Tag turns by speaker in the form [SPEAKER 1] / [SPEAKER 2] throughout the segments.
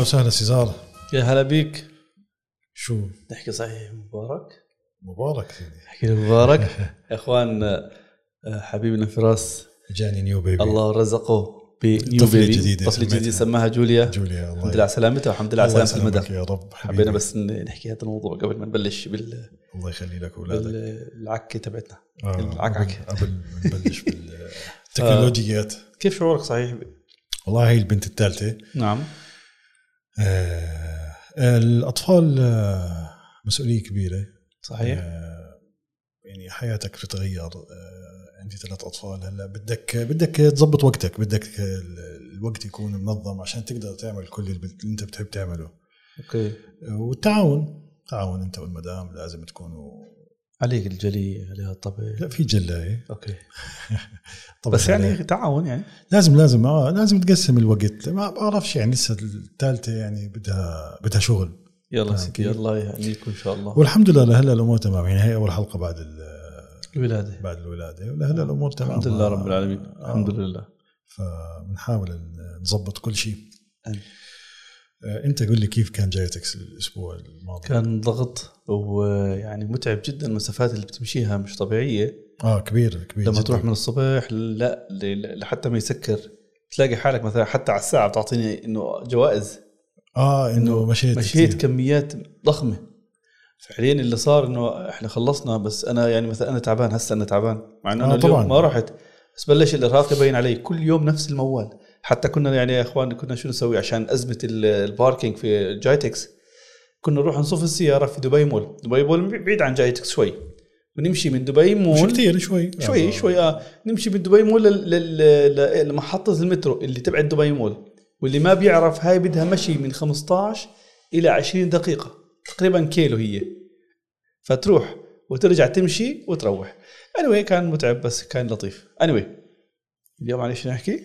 [SPEAKER 1] وسهلا سيزار
[SPEAKER 2] يا هلا بيك
[SPEAKER 1] شو
[SPEAKER 2] نحكي صحيح مبارك
[SPEAKER 1] مبارك سيدي
[SPEAKER 2] نحكي مبارك يا اخوان آه، حبيبنا فراس
[SPEAKER 1] جاني نيو بيبي
[SPEAKER 2] الله رزقه بنيو
[SPEAKER 1] طفلة
[SPEAKER 2] بيبي
[SPEAKER 1] جديدة
[SPEAKER 2] طفلة جديدة
[SPEAKER 1] سميتها.
[SPEAKER 2] سماها جوليا
[SPEAKER 1] جوليا الله
[SPEAKER 2] الحمد لله على سلامتها والحمد لله على
[SPEAKER 1] الله
[SPEAKER 2] سلامة المدى
[SPEAKER 1] يسلمك يا رب حبيبي
[SPEAKER 2] حبينا بس ن- نحكي هذا الموضوع قبل ما نبلش بال...
[SPEAKER 1] الله يخلي لك اولادك
[SPEAKER 2] بالعكه تبعتنا
[SPEAKER 1] آه،
[SPEAKER 2] العكعكة.
[SPEAKER 1] قبل- قبل ما نبلش بالتكنولوجيات
[SPEAKER 2] كيف شعورك صحيح؟
[SPEAKER 1] والله هي البنت الثالثه
[SPEAKER 2] نعم
[SPEAKER 1] آه، الاطفال آه، مسؤوليه كبيره
[SPEAKER 2] صحيح
[SPEAKER 1] آه، يعني حياتك بتتغير آه، عندي ثلاث اطفال هلا بدك بدك تظبط وقتك بدك ال- الوقت يكون منظم عشان تقدر تعمل كل اللي بت- اللي انت بتحب تعمله
[SPEAKER 2] اوكي
[SPEAKER 1] آه، والتعاون تعاون انت والمدام لازم تكونوا
[SPEAKER 2] عليك الجلية عليها الطبيعي
[SPEAKER 1] لا في جلاية
[SPEAKER 2] اوكي
[SPEAKER 1] طبعا
[SPEAKER 2] بس يعني تعاون يعني
[SPEAKER 1] لازم لازم اه لازم تقسم الوقت ما بعرفش يعني لسه الثالثه يعني بدها بدها شغل
[SPEAKER 2] يلا
[SPEAKER 1] نعم،
[SPEAKER 2] سيدي
[SPEAKER 1] كيف؟
[SPEAKER 2] الله يهنيك ان شاء الله
[SPEAKER 1] والحمد لله لهلا الامور تمام يعني هي اول حلقه بعد ال-
[SPEAKER 2] الولادة
[SPEAKER 1] بعد الولاده ولهلا الامور تمام
[SPEAKER 2] الحمد لله رب العالمين
[SPEAKER 1] آه.
[SPEAKER 2] الحمد لله
[SPEAKER 1] فبنحاول نظبط كل شيء
[SPEAKER 2] أمين.
[SPEAKER 1] آه، انت قل لي كيف كان جايتك الاسبوع الماضي
[SPEAKER 2] كان ضغط ويعني متعب جدا المسافات اللي بتمشيها مش طبيعيه
[SPEAKER 1] اه كبير كبير
[SPEAKER 2] لما
[SPEAKER 1] جداً.
[SPEAKER 2] تروح من الصبح لا ل- لحتى ما يسكر تلاقي حالك مثلا حتى على الساعه بتعطيني انه جوائز
[SPEAKER 1] اه انه مشيت
[SPEAKER 2] مشيت
[SPEAKER 1] كتير.
[SPEAKER 2] كميات ضخمه فعليا اللي صار انه احنا خلصنا بس انا يعني مثلا انا تعبان هسه انا تعبان مع انه
[SPEAKER 1] آه،
[SPEAKER 2] أنا اليوم
[SPEAKER 1] طبعاً.
[SPEAKER 2] ما رحت بس بلش الارهاق يبين علي كل يوم نفس الموال حتى كنا يعني يا اخوان كنا شو نسوي عشان ازمه ال- الباركينج في جايتكس كنا نروح نصف السياره في دبي مول دبي مول بعيد عن جايتكس شوي ونمشي من دبي
[SPEAKER 1] مش
[SPEAKER 2] مول
[SPEAKER 1] كثير شوي آه.
[SPEAKER 2] شوي شوي اه نمشي من دبي مول لل- لل- لل- لمحطة المترو اللي تبعت دبي مول واللي ما بيعرف هاي بدها مشي من 15 إلى 20 دقيقة تقريبا كيلو هي فتروح وترجع تمشي وتروح anyway كان متعب بس كان لطيف anyway اليوم عن ايش نحكي؟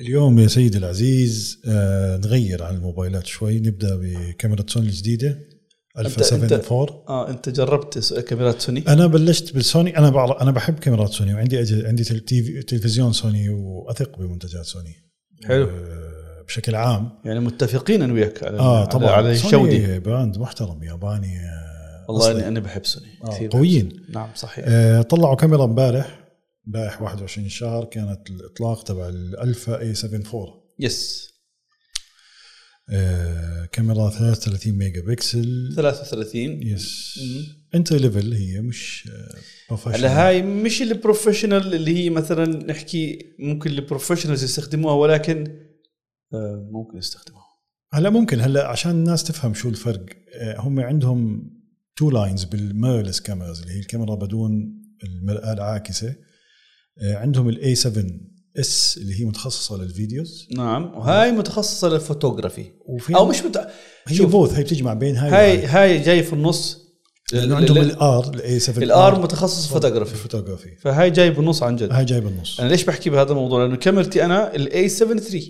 [SPEAKER 1] اليوم يا سيدي العزيز آه نغير عن الموبايلات شوي نبدا بكاميرا سوني الجديده الفا
[SPEAKER 2] أنت-
[SPEAKER 1] 7
[SPEAKER 2] أنت-
[SPEAKER 1] 4
[SPEAKER 2] اه انت جربت س- كاميرات سوني؟
[SPEAKER 1] انا بلشت بالسوني انا بعرف انا بحب كاميرات سوني وعندي أجل عندي تل- تيف- تلفزيون سوني واثق بمنتجات سوني
[SPEAKER 2] حلو. آه،
[SPEAKER 1] آه بشكل عام
[SPEAKER 2] يعني متفقين انا وياك على
[SPEAKER 1] اه
[SPEAKER 2] على-
[SPEAKER 1] طبعا
[SPEAKER 2] على
[SPEAKER 1] سوني
[SPEAKER 2] الشودي
[SPEAKER 1] براند محترم ياباني آه،
[SPEAKER 2] والله
[SPEAKER 1] أصلي.
[SPEAKER 2] اني انا بحب سوني
[SPEAKER 1] آه،
[SPEAKER 2] كثير
[SPEAKER 1] قويين
[SPEAKER 2] نعم صحيح
[SPEAKER 1] آه، طلعوا كاميرا امبارح امبارح 21 الشهر كانت الاطلاق تبع الالفا اي 7 4
[SPEAKER 2] يس
[SPEAKER 1] آه، كاميرا 33 ميجا بكسل
[SPEAKER 2] 33
[SPEAKER 1] يس
[SPEAKER 2] مم.
[SPEAKER 1] انتر ليفل هي مش آه،
[SPEAKER 2] هلا
[SPEAKER 1] بروفيشنال
[SPEAKER 2] هاي مش البروفيشنال اللي هي مثلا نحكي ممكن البروفيشنالز يستخدموها ولكن آه، ممكن يستخدموها
[SPEAKER 1] هلا ممكن هلا عشان الناس تفهم شو الفرق آه، هم عندهم تو لاينز بالميرلس كاميرز اللي هي الكاميرا بدون المرآة العاكسة آه، عندهم الاي 7 اس اللي هي متخصصة للفيديوز
[SPEAKER 2] نعم وهاي متخصصه للفوتوغرافي
[SPEAKER 1] وفي
[SPEAKER 2] او مش مت...
[SPEAKER 1] هي
[SPEAKER 2] شوف.
[SPEAKER 1] بوث هي بتجمع بين هاي
[SPEAKER 2] هاي
[SPEAKER 1] وهاي.
[SPEAKER 2] هاي جاي في النص
[SPEAKER 1] لانه عندهم الار الاي 7
[SPEAKER 2] الار متخصص فوتوغرافي
[SPEAKER 1] فوتوغرافي
[SPEAKER 2] فهاي جاي بالنص عن جد
[SPEAKER 1] هاي جاي بالنص
[SPEAKER 2] انا ليش بحكي بهذا الموضوع لانه كاميرتي انا الاي 7 3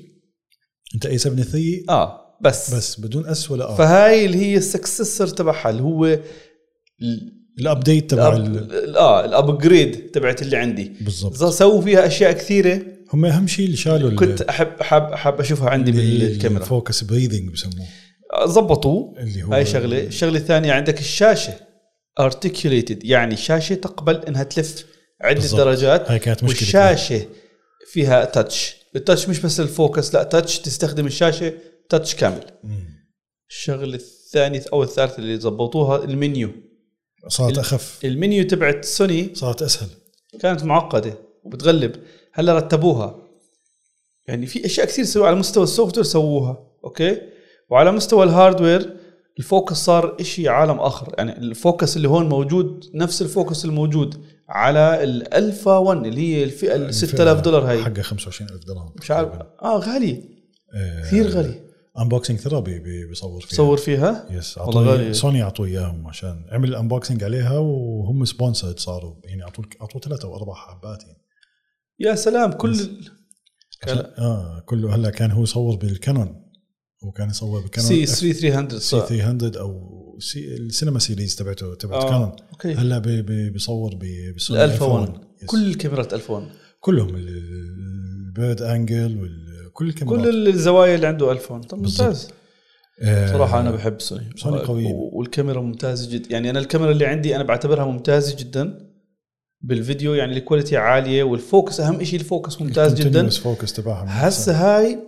[SPEAKER 1] انت اي 7 3
[SPEAKER 2] اه بس, بس
[SPEAKER 1] آه، بس بدون اس ولا ار
[SPEAKER 2] فهاي اللي هي السكسسر تبعها اللي هو ال-
[SPEAKER 1] الابديت تبع ال-
[SPEAKER 2] ال- اه الابجريد تبعت اللي عندي
[SPEAKER 1] بالضبط
[SPEAKER 2] سووا فيها اشياء كثيره
[SPEAKER 1] هم اهم شيء اللي شالوا ال-
[SPEAKER 2] كنت احب احب احب اشوفها عندي
[SPEAKER 1] اللي-
[SPEAKER 2] بالكاميرا
[SPEAKER 1] الفوكس بريذنج بسموه
[SPEAKER 2] ظبطوا
[SPEAKER 1] اللي إيه، هو
[SPEAKER 2] هاي شغله الشغله الثانيه عندك الشاشه articulated يعني شاشه تقبل انها تلف عده
[SPEAKER 1] بالضبط.
[SPEAKER 2] درجات
[SPEAKER 1] هاي كانت مشكله
[SPEAKER 2] والشاشه فيها تاتش التاتش مش بس الفوكس لا تاتش تستخدم الشاشه تاتش كامل
[SPEAKER 1] مم.
[SPEAKER 2] الشغله الثانيه او الثالثه اللي ظبطوها المنيو
[SPEAKER 1] صارت
[SPEAKER 2] ال-
[SPEAKER 1] اخف
[SPEAKER 2] المنيو تبعت سوني
[SPEAKER 1] صارت اسهل
[SPEAKER 2] كانت معقده وبتغلب هلا رتبوها يعني في اشياء كثير سووا على مستوى السوفت وير سووها اوكي وعلى مستوى الهاردوير الفوكس صار إشي عالم اخر يعني الفوكس اللي هون موجود نفس الفوكس الموجود على الالفا 1 اللي هي الفئه ال 6000 دولار هاي
[SPEAKER 1] حقها 25000 دولار
[SPEAKER 2] مش عارف اه غالي
[SPEAKER 1] آه،
[SPEAKER 2] كثير غالي
[SPEAKER 1] انبوكسنج ثيرابي بي- بيصور فيها
[SPEAKER 2] بصور فيها
[SPEAKER 1] يس
[SPEAKER 2] والله غالي.
[SPEAKER 1] عطوا سوني عطوا اياهم عشان عمل انبوكسنج عليها وهم سبونسرد صاروا يعني عطوا عطوا ثلاثه او اربع حبات يعني
[SPEAKER 2] يا سلام كل
[SPEAKER 1] عشان- اه كله هلا كان هو يصور بالكانون هو كان يصور بالكانون
[SPEAKER 2] سي 3300
[SPEAKER 1] سي
[SPEAKER 2] صار
[SPEAKER 1] 300 او سي السينما سيريز تبعته تبعت
[SPEAKER 2] آه،
[SPEAKER 1] كانون
[SPEAKER 2] اوكي
[SPEAKER 1] هلا بي- بي- بيصور ب- بسوني
[SPEAKER 2] الالفا 1
[SPEAKER 1] Alpha One. Yes.
[SPEAKER 2] كل الكاميرات الفا 1
[SPEAKER 1] كلهم ال- ال- البيرد انجل وكل الكاميرات
[SPEAKER 2] كل الزوايا اللي عنده الفا 1 طب
[SPEAKER 1] بالضبط.
[SPEAKER 2] ممتاز
[SPEAKER 1] آه،
[SPEAKER 2] صراحه انا بحب سوني
[SPEAKER 1] سوني قوية.
[SPEAKER 2] و- والكاميرا ممتازه جدا يعني انا الكاميرا اللي عندي انا بعتبرها ممتازه جدا بالفيديو يعني الكواليتي عاليه والفوكس اهم شيء الفوكس ممتاز جدا
[SPEAKER 1] continuous focus تبعها
[SPEAKER 2] هسه هاي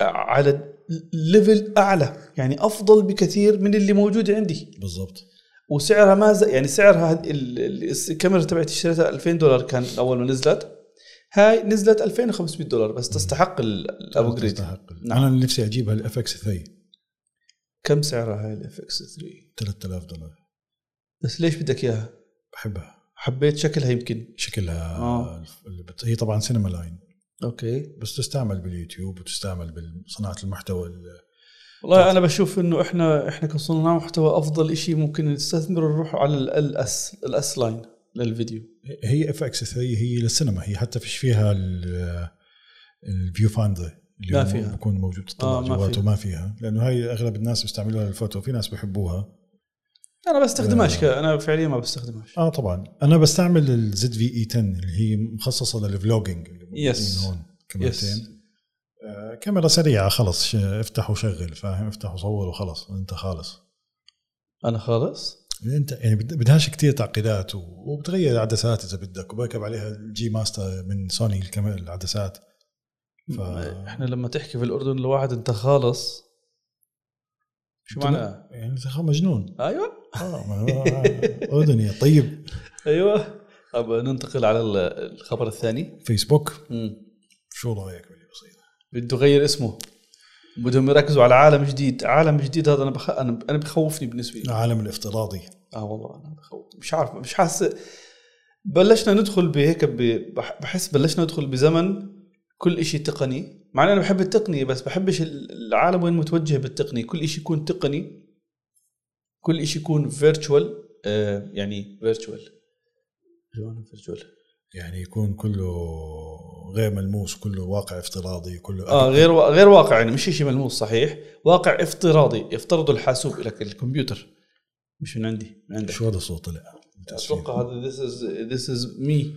[SPEAKER 2] على ليفل اعلى يعني افضل بكثير من اللي موجود عندي
[SPEAKER 1] بالضبط
[SPEAKER 2] وسعرها ما ز... يعني سعرها هاد- ال- ال- الكاميرا تبعتي اشتريتها 2000 دولار كان اول ما نزلت هاي نزلت 2500 دولار بس تستحق ال- الابجريد
[SPEAKER 1] تستحق ال-
[SPEAKER 2] نعم.
[SPEAKER 1] انا نفسي اجيبها الاف اكس 3
[SPEAKER 2] كم سعرها هاي الاف اكس 3
[SPEAKER 1] 3000 دولار
[SPEAKER 2] بس ليش بدك اياها
[SPEAKER 1] بحبها
[SPEAKER 2] حبيت شكلها يمكن
[SPEAKER 1] شكلها
[SPEAKER 2] آه.
[SPEAKER 1] الف- اللي بت- هي طبعا سينما لاين
[SPEAKER 2] اوكي
[SPEAKER 1] بس تستعمل باليوتيوب وتستعمل بصناعه المحتوى ال-
[SPEAKER 2] والله انا بشوف انه احنا احنا كصناع محتوى افضل شيء ممكن نستثمر نروح على الاس الاس لاين للفيديو
[SPEAKER 1] هي اف اكس 3 هي للسينما هي حتى فيش فيها ال- الفيو فاندر اللي
[SPEAKER 2] ما
[SPEAKER 1] هو
[SPEAKER 2] فيها.
[SPEAKER 1] بكون موجود تطلع
[SPEAKER 2] آه، ما
[SPEAKER 1] جواته
[SPEAKER 2] فيها.
[SPEAKER 1] ما فيها لانه هاي اغلب الناس بيستعملوها للفوتو في ناس بحبوها
[SPEAKER 2] انا بستخدمهاش ك- انا فعليا ما بستخدمهاش
[SPEAKER 1] اه طبعا انا بستعمل الزد في اي 10 E اللي هي مخصصه للفلوجينج اللي موجودين
[SPEAKER 2] Yes.
[SPEAKER 1] هون
[SPEAKER 2] يس
[SPEAKER 1] كاميرتين آه، كاميرا سريعه خلص ش- افتح وشغل فاهم افتح وصور وخلص انت خالص
[SPEAKER 2] انا خالص
[SPEAKER 1] انت يعني بد- بدهاش كتير تعقيدات و- وبتغير العدسات اذا بدك وبركب عليها الجي ماستر من سوني الكم- العدسات ف-
[SPEAKER 2] احنا لما تحكي في الاردن لواحد انت خالص شو
[SPEAKER 1] أنت
[SPEAKER 2] معنى
[SPEAKER 1] يعني انت خ- مجنون
[SPEAKER 2] ايوه
[SPEAKER 1] آه، ما- ما- اردني طيب
[SPEAKER 2] ايوه طب ننتقل على ال- الخبر الثاني
[SPEAKER 1] فيسبوك
[SPEAKER 2] مم.
[SPEAKER 1] شو رايك باللي بصير؟
[SPEAKER 2] بده يغير اسمه بدهم يركزوا على عالم جديد عالم جديد هذا انا بخ... انا انا بخوفني بالنسبه لي
[SPEAKER 1] العالم الافتراضي
[SPEAKER 2] اه والله انا بخوف مش عارف مش حاسس بلشنا ندخل بهيك ب- بح- بحس بلشنا ندخل بزمن كل إشي تقني مع إن انا بحب التقنيه بس بحبش ال- العالم وين متوجه بالتقنيه كل إشي يكون تقني كل إشي يكون فيرتشوال آه يعني فيرتشوال فيرتشوال
[SPEAKER 1] يعني يكون كله غير ملموس كله واقع افتراضي كله
[SPEAKER 2] اه غير وا- غير واقع يعني مش شيء ملموس صحيح واقع افتراضي يفترضه الحاسوب لك الكمبيوتر مش من عندي من عندك
[SPEAKER 1] شو هذا الصوت طلع؟
[SPEAKER 2] اتوقع هذا ذيس از ذيس از مي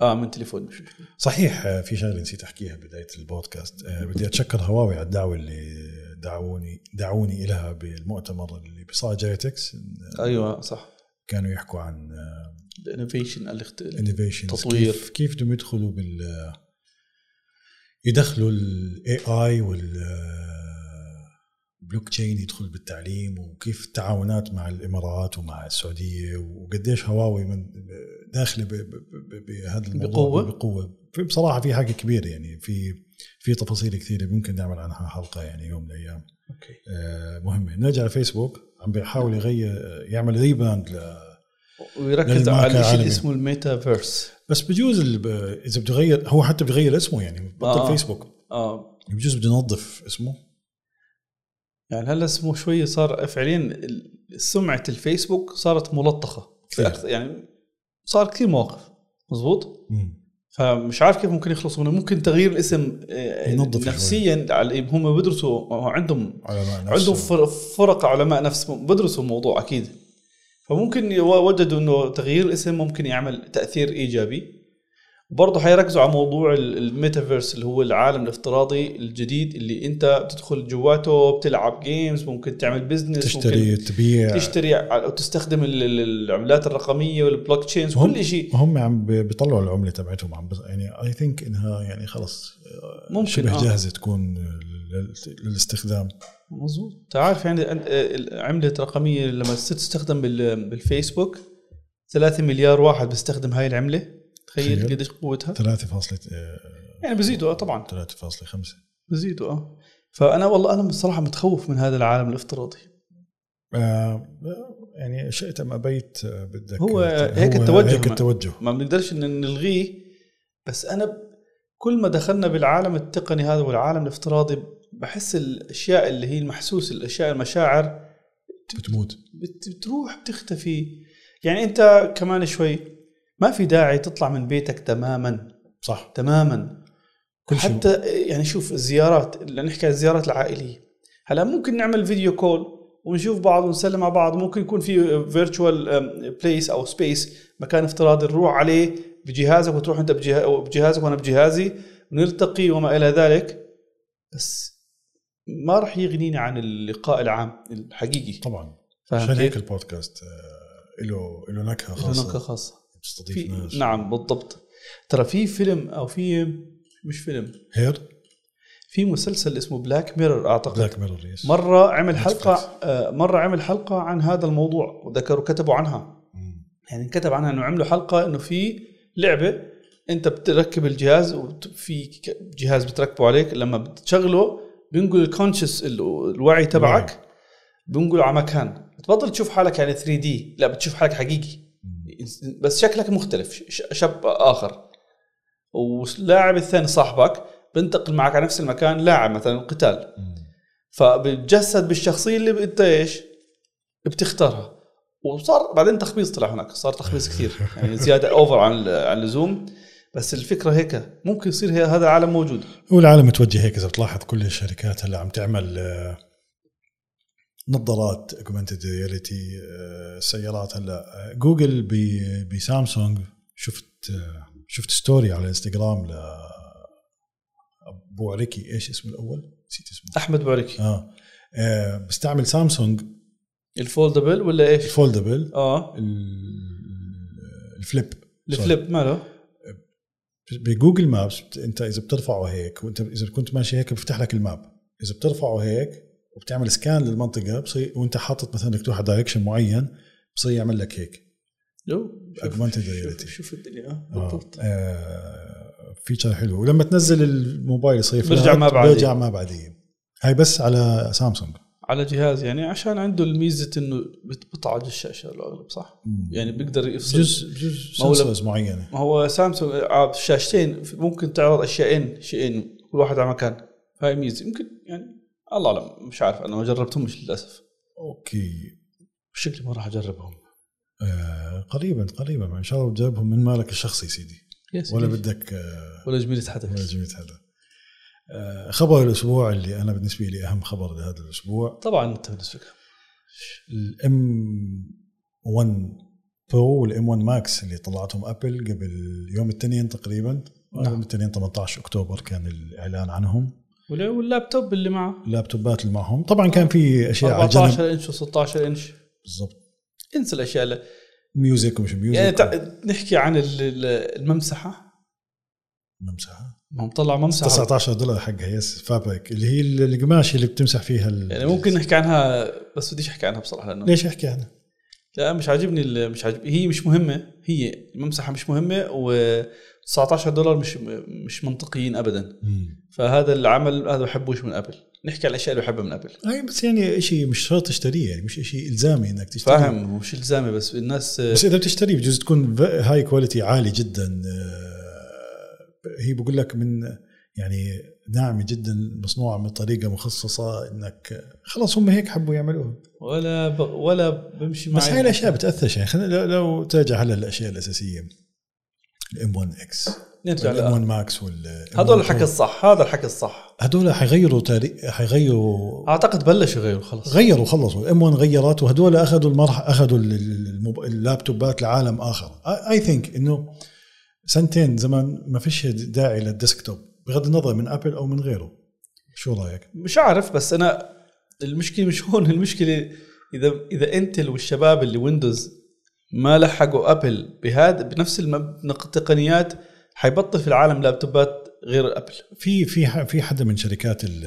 [SPEAKER 2] اه من تليفون مش مشكله
[SPEAKER 1] صحيح آه، في شغله نسيت احكيها بدايه البودكاست آه، بدي اتشكر هواوي على الدعوه اللي دعوني دعوني الها بالمؤتمر اللي بصار جايتكس
[SPEAKER 2] ايوه صح
[SPEAKER 1] كانوا يحكوا عن
[SPEAKER 2] الانوفيشن الاخت...
[SPEAKER 1] انوفيشن
[SPEAKER 2] تطوير.
[SPEAKER 1] كيف, كيف بدهم يدخلوا بال يدخلوا الاي اي وال بلوك تشين يدخل بالتعليم وكيف التعاونات مع الامارات ومع السعوديه وقديش هواوي من داخله ب- ب- ب- بهذا الموضوع
[SPEAKER 2] بقوة؟
[SPEAKER 1] بقوه في- بصراحه في حاجه كبيره يعني في في تفاصيل كثيره ممكن نعمل عنها حلقه يعني يوم من الايام
[SPEAKER 2] اوكي
[SPEAKER 1] آه، مهمه نرجع لفيسبوك عم بيحاول يغير يعمل ريبراند ل
[SPEAKER 2] ويركز
[SPEAKER 1] للماركة
[SPEAKER 2] على الشيء
[SPEAKER 1] العالمية.
[SPEAKER 2] اللي اسمه الميتافيرس
[SPEAKER 1] بس بجوز ال- اذا بده يغير هو حتى بده يغير اسمه يعني بطل
[SPEAKER 2] آه.
[SPEAKER 1] فيسبوك
[SPEAKER 2] اه
[SPEAKER 1] بجوز بده ينظف اسمه
[SPEAKER 2] يعني هلا اسمه شوي صار فعليا ال- سمعه الفيسبوك صارت ملطخه
[SPEAKER 1] كثير.
[SPEAKER 2] أكثر- يعني صار كثير مواقف مزبوط
[SPEAKER 1] مم.
[SPEAKER 2] فمش عارف كيف ممكن يخلصوا منه ممكن تغيير الاسم آه،
[SPEAKER 1] ينظف شوي.
[SPEAKER 2] نفسيا على هم بدرسوا عندهم
[SPEAKER 1] علماء نفسه.
[SPEAKER 2] عندهم فر- فرق علماء نفس بدرسوا الموضوع اكيد فممكن يو- وجدوا انه تغيير الاسم ممكن يعمل تاثير ايجابي وبرضه حيركزوا على موضوع ال- الميتافيرس اللي هو العالم الافتراضي الجديد اللي انت بتدخل جواته بتلعب جيمز ممكن تعمل بزنس
[SPEAKER 1] تشتري آه. تبيع
[SPEAKER 2] ممكن تشتري ع- او تستخدم ال- ال- العملات الرقميه والبلوك تشينز كل شيء
[SPEAKER 1] هم عم بي- بيطلعوا العمله تبعتهم عم بز- يعني اي ثينك انها يعني خلص آه،
[SPEAKER 2] ممكن،
[SPEAKER 1] شبه
[SPEAKER 2] آه.
[SPEAKER 1] جاهزه تكون لل- للاستخدام
[SPEAKER 2] مظبوط انت عارف يعني أن- آه، عمله رقميه لما تصير تستخدم بال- بالفيسبوك 3 مليار واحد بيستخدم هاي العمله تخيل
[SPEAKER 1] تخيل.
[SPEAKER 2] قديش قوتها
[SPEAKER 1] 3.5
[SPEAKER 2] يعني بزيدوا آه، طبعا
[SPEAKER 1] 3.5
[SPEAKER 2] بزيدوا اه فانا والله انا بصراحه متخوف من هذا العالم الافتراضي
[SPEAKER 1] آه، يعني شئت ام ابيت آه، بدك
[SPEAKER 2] هو
[SPEAKER 1] آه،
[SPEAKER 2] هيك التوجه
[SPEAKER 1] هيك
[SPEAKER 2] ما-
[SPEAKER 1] التوجه
[SPEAKER 2] ما بنقدرش ان نلغيه بس انا ب- كل ما دخلنا بالعالم التقني هذا والعالم الافتراضي بحس الاشياء اللي هي المحسوس الاشياء المشاعر
[SPEAKER 1] بتموت
[SPEAKER 2] بت- بتروح بتختفي يعني انت كمان شوي ما في داعي تطلع من بيتك تماما
[SPEAKER 1] صح
[SPEAKER 2] تماما
[SPEAKER 1] كل شيء
[SPEAKER 2] حتى يعني شوف الزيارات اللي نحكي عن الزيارات العائليه هلا ممكن نعمل فيديو كول ونشوف بعض ونسلم على بعض ممكن يكون في فيرتشوال بليس او سبيس مكان افتراضي نروح عليه بجهازك وتروح انت بجه- بجهازك وانا بجهازي ونلتقي وما الى ذلك بس ما راح يغنينا عن اللقاء العام الحقيقي
[SPEAKER 1] طبعا
[SPEAKER 2] فاهم
[SPEAKER 1] عشان هيك
[SPEAKER 2] كيف؟
[SPEAKER 1] البودكاست آه، له له نكهه
[SPEAKER 2] نكهه
[SPEAKER 1] خاصه
[SPEAKER 2] خاصه
[SPEAKER 1] بتستضيف
[SPEAKER 2] في
[SPEAKER 1] ناس
[SPEAKER 2] نعم بالضبط ترى في فيلم او في مش فيلم
[SPEAKER 1] هير
[SPEAKER 2] في مسلسل اسمه بلاك ميرور اعتقد
[SPEAKER 1] بلاك ميرور يس
[SPEAKER 2] مره عمل حلقه
[SPEAKER 1] Netflix.
[SPEAKER 2] آه، مره عمل حلقه عن هذا الموضوع وذكروا كتبوا عنها
[SPEAKER 1] مم.
[SPEAKER 2] يعني كتب عنها انه عملوا حلقه انه في لعبه انت بتركب الجهاز وفي ك- جهاز بتركبه عليك لما بتشغله بينقل الكونشس الوعي
[SPEAKER 1] نعم.
[SPEAKER 2] تبعك بينقله على مكان بتبطل تشوف حالك يعني 3 دي لا بتشوف حالك حقيقي بس شكلك مختلف ش- شاب اخر واللاعب الثاني صاحبك بنتقل معك على نفس المكان لاعب مثلا قتال
[SPEAKER 1] مم.
[SPEAKER 2] فبتجسد بالشخصيه اللي انت ايش؟ بتختارها وصار بعدين تخبيص طلع هناك صار تخبيص كثير يعني زياده اوفر عن عن اللزوم بس الفكره هيك ممكن يصير هي هذا عالم موجود
[SPEAKER 1] هو العالم متوجه هيك اذا بتلاحظ كل الشركات هلا عم تعمل آه، نظارات اوجمانتد رياليتي سيارات هلا آه، جوجل ب- بسامسونج شفت آه، شفت ستوري على الانستغرام ل ابو عليكي ايش اسمه الاول؟ نسيت اسمه
[SPEAKER 2] احمد بوريكي
[SPEAKER 1] اه آه، بستعمل سامسونج
[SPEAKER 2] الفولدبل ولا ايش؟
[SPEAKER 1] الفولدبل
[SPEAKER 2] اه
[SPEAKER 1] ال- الفليب
[SPEAKER 2] الفليب ماله
[SPEAKER 1] بجوجل مابس بت- انت اذا بترفعه هيك وانت اذا كنت ماشي هيك بفتح لك الماب اذا بترفعه هيك وبتعمل سكان للمنطقه بصير وانت حاطط مثلا بدك تروح دايركشن معين بصير يعمل لك هيك
[SPEAKER 2] لو شوف-
[SPEAKER 1] Augmented
[SPEAKER 2] شوف-
[SPEAKER 1] reality.
[SPEAKER 2] شوف الدنيا آه،
[SPEAKER 1] آه.
[SPEAKER 2] بالضبط
[SPEAKER 1] آه. فيتشر حلو ولما تنزل الموبايل يصير
[SPEAKER 2] بيرجع
[SPEAKER 1] فلات،
[SPEAKER 2] ماب عادي.
[SPEAKER 1] بيرجع ماب عاديه هاي بس على سامسونج
[SPEAKER 2] على جهاز يعني عشان عنده الميزه انه بت- بتعج الشاشه الاغلب صح؟ يعني بيقدر يفصل
[SPEAKER 1] جزء جزء
[SPEAKER 2] ما هو لما-
[SPEAKER 1] sensors معينه
[SPEAKER 2] ما هو سامسونج عاب شاشتين ممكن تعرض اشيائين شيئين كل واحد على مكان هاي ميزه يمكن يعني الله اعلم مش عارف انا ما جربتهمش للاسف
[SPEAKER 1] اوكي
[SPEAKER 2] شكلي ما راح اجربهم
[SPEAKER 1] آه. قريبا قريبا ان شاء الله بتجربهم من مالك الشخصي سيدي
[SPEAKER 2] يس
[SPEAKER 1] ولا
[SPEAKER 2] ولا
[SPEAKER 1] بدك آه
[SPEAKER 2] ولا جميلة حدث
[SPEAKER 1] جميل هذا آه، خبر الاسبوع اللي انا بالنسبه لي اهم خبر لهذا الاسبوع
[SPEAKER 2] طبعا انت بالنسبه لك
[SPEAKER 1] الام 1 برو والام 1 ماكس اللي طلعتهم ابل قبل يوم الاثنين تقريبا
[SPEAKER 2] نعم.
[SPEAKER 1] يوم الاثنين 18 اكتوبر كان الاعلان عنهم
[SPEAKER 2] ولا- واللابتوب اللي معه
[SPEAKER 1] اللابتوبات اللي معهم طبعا كان في اشياء على جنب
[SPEAKER 2] 14 انش و16 انش
[SPEAKER 1] بالضبط
[SPEAKER 2] انسى الاشياء اللي.
[SPEAKER 1] ميوزك ومش ميوزك
[SPEAKER 2] يعني تع... نحكي عن ال- ال- الممسحه
[SPEAKER 1] ممسحه
[SPEAKER 2] ما مطلع ممسحه
[SPEAKER 1] 19 دولار حقها يس فابريك اللي هي القماشه اللي بتمسح فيها ال-
[SPEAKER 2] يعني ممكن نحكي عنها بس بديش احكي عنها بصراحه لانه
[SPEAKER 1] ليش احكي عنها؟
[SPEAKER 2] لا مش عاجبني ال- مش عاجب هي مش مهمه هي الممسحه مش مهمه و 19 دولار مش مش منطقيين ابدا فهذا العمل هذا بحبوش من ابل نحكي على الاشياء اللي بحبها من ابل
[SPEAKER 1] هاي بس يعني شيء مش شرط تشتريه يعني مش شيء الزامي انك تشتريه
[SPEAKER 2] فاهم مش الزامي بس الناس
[SPEAKER 1] بس اذا بتشتريه بجوز تكون ف- هاي كواليتي عالي جدا آه، هي بقول لك من يعني ناعمه جدا مصنوعه من طريقه مخصصه انك خلاص هم هيك حبوا يعملوها
[SPEAKER 2] ولا ب... ولا بمشي معي
[SPEAKER 1] بس هاي الاشياء بتاثر يعني خلينا لو, لو تراجع هلا الاشياء الاساسيه الام 1 اكس
[SPEAKER 2] نرجع
[SPEAKER 1] الام
[SPEAKER 2] لها.
[SPEAKER 1] 1 ماكس وال
[SPEAKER 2] هذول الحكي الصح هذا الحكي الصح
[SPEAKER 1] هذول حيغيروا تاريخ حيغيروا
[SPEAKER 2] اعتقد بلشوا يغيروا خلص
[SPEAKER 1] غيروا خلصوا الام 1 غيرت وهدول اخذوا المرح اخذوا ال- ال- الموب- اللابتوبات لعالم اخر اي ثينك انه سنتين زمان ما فيش داعي للديسكتوب بغض النظر من ابل او من غيره شو رايك؟
[SPEAKER 2] مش عارف بس انا المشكله مش هون المشكله اذا اذا انتل والشباب اللي ويندوز ما لحقوا ابل بهذا بنفس المب- التقنيات حيبطل في العالم لابتوبات غير ابل
[SPEAKER 1] في في ح- في حدا من شركات ال-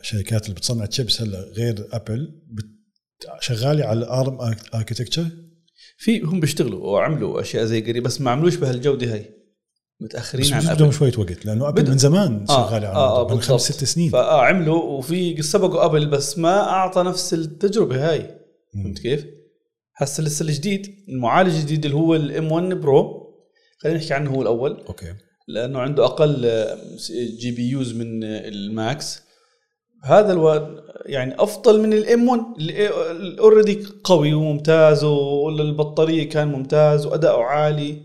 [SPEAKER 1] الشركات اللي بتصنع تشيبس هلا غير ابل بت- شغاله على الارم اركتكتشر
[SPEAKER 2] في هم بيشتغلوا وعملوا اشياء زي قريب بس ما عملوش بهالجوده هاي
[SPEAKER 1] بس
[SPEAKER 2] متاخرين عن
[SPEAKER 1] بجوز
[SPEAKER 2] ابل
[SPEAKER 1] بدهم شويه وقت لانه ابل
[SPEAKER 2] بدهم-
[SPEAKER 1] من زمان
[SPEAKER 2] آه،
[SPEAKER 1] شغاله على
[SPEAKER 2] آه،
[SPEAKER 1] الموضوع، من
[SPEAKER 2] بالضبط.
[SPEAKER 1] خمس ست سنين
[SPEAKER 2] فعملوا وفي سبقوا ابل بس ما اعطى نفس التجربه هاي
[SPEAKER 1] مم.
[SPEAKER 2] فهمت كيف؟ هسه لسه الجديد المعالج الجديد اللي هو الام 1 برو خلينا نحكي عنه هو الاول
[SPEAKER 1] اوكي
[SPEAKER 2] لانه عنده آه، اقل جي بي يوز من آه، الماكس هذا الواد يعني افضل من الام 1 اوريدي قوي وممتاز والبطاريه كان ممتاز واداؤه عالي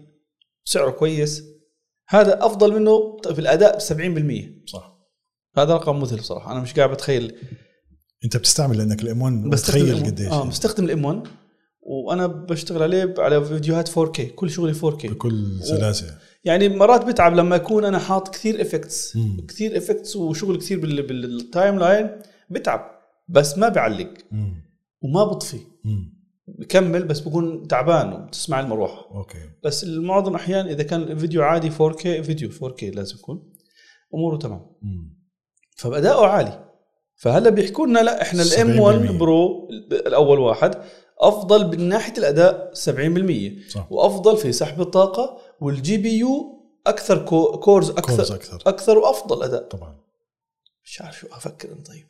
[SPEAKER 2] سعره كويس هذا افضل منه في الاداء ب 70%
[SPEAKER 1] صح
[SPEAKER 2] هذا رقم مذهل بصراحه انا مش قاعد بتخيل
[SPEAKER 1] انت بتستعمل لانك الام 1
[SPEAKER 2] بستخدم
[SPEAKER 1] بتخيل
[SPEAKER 2] الإم-
[SPEAKER 1] قديش
[SPEAKER 2] اه مستخدم الام 1 وانا بشتغل عليه على فيديوهات 4K كل شغلي 4K
[SPEAKER 1] بكل سلاسه
[SPEAKER 2] يعني مرات بتعب لما اكون انا حاط كثير افكتس
[SPEAKER 1] مم.
[SPEAKER 2] كثير افكتس وشغل كثير بال- بالتايم لاين بتعب بس ما بعلق
[SPEAKER 1] مم.
[SPEAKER 2] وما بطفي
[SPEAKER 1] مم.
[SPEAKER 2] بكمل بس بكون تعبان وبتسمع المروحه
[SPEAKER 1] اوكي
[SPEAKER 2] بس المعظم احيان اذا كان الفيديو عادي 4K فيديو 4K لازم يكون اموره تمام
[SPEAKER 1] مم.
[SPEAKER 2] فاداؤه عالي فهلا بيحكوا لنا لا احنا الام 1
[SPEAKER 1] 70%
[SPEAKER 2] برو الاول واحد افضل من ناحيه الاداء 70%
[SPEAKER 1] صح
[SPEAKER 2] وافضل في سحب الطاقه والجي بي يو اكثر كو-
[SPEAKER 1] كورز
[SPEAKER 2] كورز اكثر
[SPEAKER 1] اكثر
[SPEAKER 2] اكثر وافضل اداء
[SPEAKER 1] طبعا
[SPEAKER 2] مش عارف شو افكر انا طيب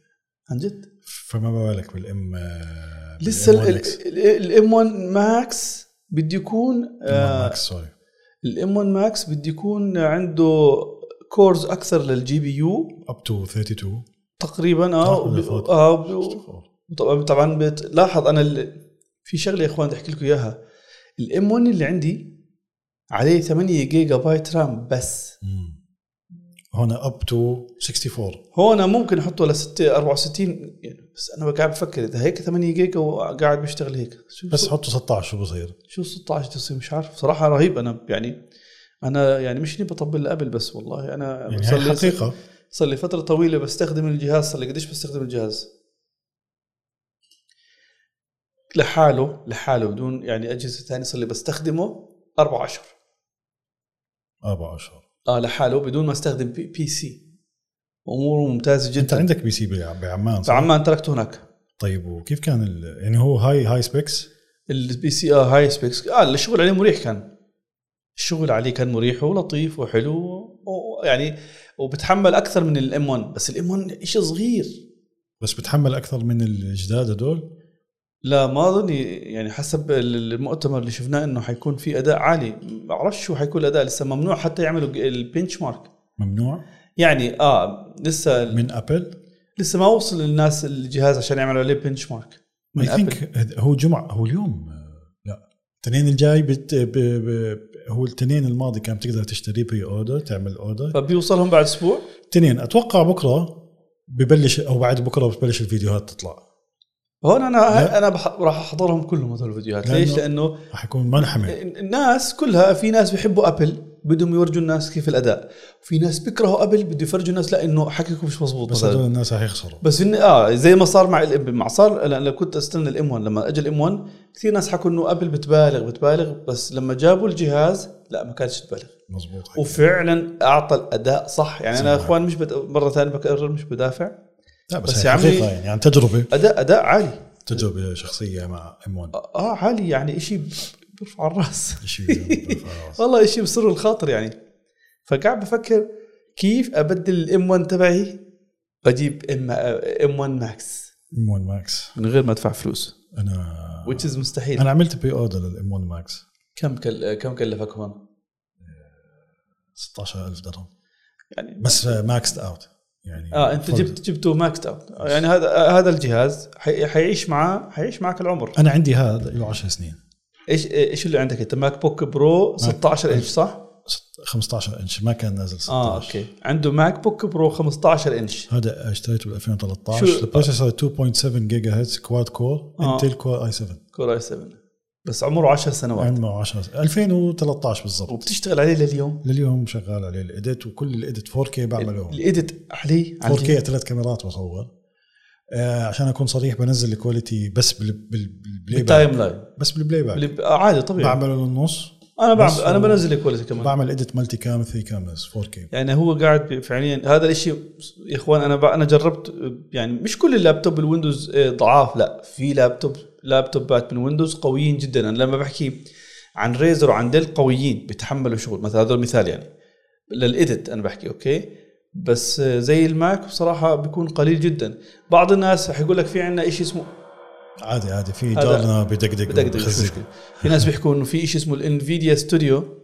[SPEAKER 2] عن جد
[SPEAKER 1] فما بالك آه، بالام
[SPEAKER 2] لسه الام 1 ماكس بده يكون آه،
[SPEAKER 1] سوري
[SPEAKER 2] الام 1 ماكس بده يكون عنده كورز اكثر للجي بي يو
[SPEAKER 1] اب تو 32
[SPEAKER 2] تقريبا اه
[SPEAKER 1] آه،
[SPEAKER 2] وب-
[SPEAKER 1] بالضبط.
[SPEAKER 2] اه وب- طبعا طبعا بتلاحظ انا ال... في شغله يا اخوان بدي احكي لكم اياها الام 1 اللي عندي عليه 8 جيجا بايت رام بس
[SPEAKER 1] مم. هنا اب تو 64
[SPEAKER 2] هون ممكن احطه ل 6 64 يعني بس انا قاعد بفكر اذا هيك 8 جيجا وقاعد بيشتغل هيك شو
[SPEAKER 1] بس حطوا 16 شو بصير؟
[SPEAKER 2] شو 16 تصير مش عارف صراحه رهيب انا يعني انا يعني مش اني بطبل لابل بس والله انا
[SPEAKER 1] يعني
[SPEAKER 2] صار
[SPEAKER 1] هاي
[SPEAKER 2] لي-
[SPEAKER 1] حقيقه
[SPEAKER 2] صار لي فترة طويلة بستخدم الجهاز صار لي قديش بستخدم الجهاز لحاله لحاله بدون يعني أجهزة ثانية صار لي بستخدمه أربع أشهر
[SPEAKER 1] اربع اشهر
[SPEAKER 2] آه لحاله بدون ما استخدم بي, بي سي أموره ممتازة
[SPEAKER 1] انت
[SPEAKER 2] جدا
[SPEAKER 1] عندك بي سي بع- بعمان صح؟
[SPEAKER 2] فعمان تركته هناك
[SPEAKER 1] طيب وكيف كان ال... يعني هو هاي هاي سبيكس
[SPEAKER 2] البي سي آه هاي سبيكس آه الشغل عليه مريح كان الشغل عليه كان مريح ولطيف وحلو و- ويعني وبتحمل اكثر من الام 1 بس الام 1 شيء صغير
[SPEAKER 1] بس بتحمل اكثر من الجداد هدول
[SPEAKER 2] لا ما اظني يعني حسب ال- المؤتمر اللي شفناه انه حيكون في اداء عالي ما بعرفش شو حيكون الاداء لسه ممنوع حتى يعملوا البنش مارك
[SPEAKER 1] ممنوع
[SPEAKER 2] يعني اه لسه
[SPEAKER 1] من ابل
[SPEAKER 2] لسه ما وصل للناس الجهاز عشان يعملوا عليه بنش مارك من
[SPEAKER 1] اي
[SPEAKER 2] ابل
[SPEAKER 1] ثينك هو جمعه هو اليوم آه، لا الاثنين الجاي بت... ب... ب... هو الاثنين الماضي كان بتقدر تشتري بري اوردر تعمل اوردر
[SPEAKER 2] فبيوصلهم بعد اسبوع
[SPEAKER 1] الاثنين اتوقع بكره ببلش او بعد بكره بتبلش الفيديوهات تطلع
[SPEAKER 2] هون انا
[SPEAKER 1] لا.
[SPEAKER 2] انا بح... راح احضرهم كلهم هذول الفيديوهات
[SPEAKER 1] لأنه-
[SPEAKER 2] ليش؟ لانه
[SPEAKER 1] راح يكون منحمل
[SPEAKER 2] الناس كلها في ناس بيحبوا ابل بدهم يورجوا الناس كيف الاداء في ناس بيكرهوا ابل بده يفرجوا الناس لا انه حكيكم مش مزبوط
[SPEAKER 1] بس
[SPEAKER 2] مثلاً.
[SPEAKER 1] هدول الناس راح يخسروا
[SPEAKER 2] بس إن اه زي ما صار مع الام مع صار انا أنا كنت استنى الام 1 لما اجى الام 1 كثير ناس حكوا انه ابل بتبالغ بتبالغ بس لما جابوا الجهاز لا ما كانتش تبالغ
[SPEAKER 1] مزبوط
[SPEAKER 2] وفعلا اعطى الاداء صح يعني انا
[SPEAKER 1] صح.
[SPEAKER 2] اخوان مش بت... مره ثانيه بكرر مش بدافع
[SPEAKER 1] لا بس,
[SPEAKER 2] بس
[SPEAKER 1] بس
[SPEAKER 2] يا
[SPEAKER 1] يا
[SPEAKER 2] عمي-
[SPEAKER 1] يعني عن تجربه
[SPEAKER 2] اداء اداء عالي
[SPEAKER 1] تجربه شخصيه مع ام 1
[SPEAKER 2] اه آه، عالي يعني شيء بيرفع الراس
[SPEAKER 1] شيء بيرفع راسي.
[SPEAKER 2] والله شيء بسر الخاطر يعني فقاعد بفكر كيف ابدل الام 1 تبعي بجيب ام ام 1 ماكس
[SPEAKER 1] ام 1 ماكس
[SPEAKER 2] من غير ما ادفع فلوس
[SPEAKER 1] انا
[SPEAKER 2] which is مستحيل
[SPEAKER 1] انا عملت بري اوردر للام 1 ماكس
[SPEAKER 2] كم كل... كم كلفك هون؟
[SPEAKER 1] 16000 درهم
[SPEAKER 2] يعني
[SPEAKER 1] بس ماكس اوت يعني
[SPEAKER 2] اه انت
[SPEAKER 1] فرد.
[SPEAKER 2] جبت جبته ماكس اوت يعني هذا هذا الجهاز حي... حيعيش معاه حيعيش معك العمر
[SPEAKER 1] انا عندي هذا له 10 سنين
[SPEAKER 2] ايش ايش اللي عندك انت ماك بوك برو 16 انش صح؟
[SPEAKER 1] ست- 15 انش ما كان نازل 16
[SPEAKER 2] اه اوكي عنده ماك بوك برو 15 انش
[SPEAKER 1] هذا اشتريته بال
[SPEAKER 2] شو-
[SPEAKER 1] 2013 البروسيسور 2.7 جيجا هرتز كواد كور
[SPEAKER 2] آه.
[SPEAKER 1] انتل كور اي 7
[SPEAKER 2] كور اي 7 بس عمره 10 سنوات
[SPEAKER 1] عمره 10 2013 بالضبط
[SPEAKER 2] وبتشتغل عليه لليوم
[SPEAKER 1] لليوم شغال عليه الاديت وكل الاديت 4K بعمله
[SPEAKER 2] الايديت عليه على
[SPEAKER 1] 4K
[SPEAKER 2] الجهاز.
[SPEAKER 1] ثلاث كاميرات بصور آه عشان اكون صريح بنزل الكواليتي بس بال بال بالبلاي
[SPEAKER 2] بالتايم
[SPEAKER 1] باك
[SPEAKER 2] لاين
[SPEAKER 1] بس بالبلاي باك
[SPEAKER 2] اللي- آه، عادي طبيعي
[SPEAKER 1] بعمله للنص
[SPEAKER 2] انا
[SPEAKER 1] بس
[SPEAKER 2] بعمل انا
[SPEAKER 1] هو-
[SPEAKER 2] بنزل الكواليتي كمان
[SPEAKER 1] بعمل اديت مالتي كام 3 كاميرز 4K
[SPEAKER 2] يعني هو قاعد بي- فعليا هذا الشيء يا اخوان انا ب- انا جربت يعني مش كل اللابتوب الويندوز آه، ضعاف لا في لابتوب لابتوبات من ويندوز قويين جدا انا لما بحكي عن ريزر وعن ديل قويين بيتحملوا شغل مثلا هذول مثال يعني للإيديت انا بحكي اوكي بس آه، زي الماك بصراحه بيكون قليل جدا بعض الناس حيقول لك في عندنا شيء اسمه
[SPEAKER 1] عادي عادي في
[SPEAKER 2] هذا-
[SPEAKER 1] دارنا بدقدق
[SPEAKER 2] بدقدق مش
[SPEAKER 1] وبخزق.
[SPEAKER 2] مشكله في ناس بيحكوا انه في شيء اسمه الانفيديا ستوديو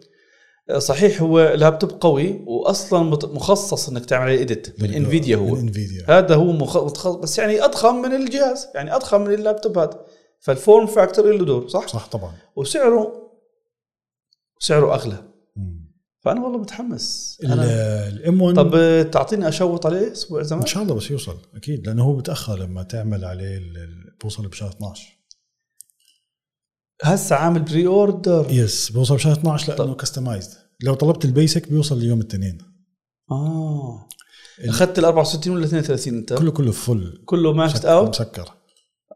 [SPEAKER 2] صحيح هو لابتوب قوي واصلا مت- مخصص انك تعمل عليه اديت من
[SPEAKER 1] بالدار-
[SPEAKER 2] انفيديا هو
[SPEAKER 1] من انفيديا
[SPEAKER 2] هذا هو مخ- متخصص بس يعني اضخم من الجهاز يعني اضخم من اللابتوبات فالفورم فاكتور له دور صح؟,
[SPEAKER 1] صح طبعا
[SPEAKER 2] وسعره سعره اغلى
[SPEAKER 1] مم.
[SPEAKER 2] فانا والله متحمس أنا
[SPEAKER 1] الام 1
[SPEAKER 2] طب تعطيني اشوط عليه اسبوع زمان
[SPEAKER 1] ان شاء الله بس يوصل اكيد لانه هو بتاخر لما تعمل عليه ال- ال- بوصل بشهر 12
[SPEAKER 2] هسه عامل بري اوردر
[SPEAKER 1] يس بوصل بشهر 12 لانه كستمايزد لو طلبت البيسك بيوصل ليوم الاثنين
[SPEAKER 2] اه اخذت ال 64 ولا 32 انت؟
[SPEAKER 1] كله كله فل
[SPEAKER 2] كله ماكس اوت
[SPEAKER 1] مسكر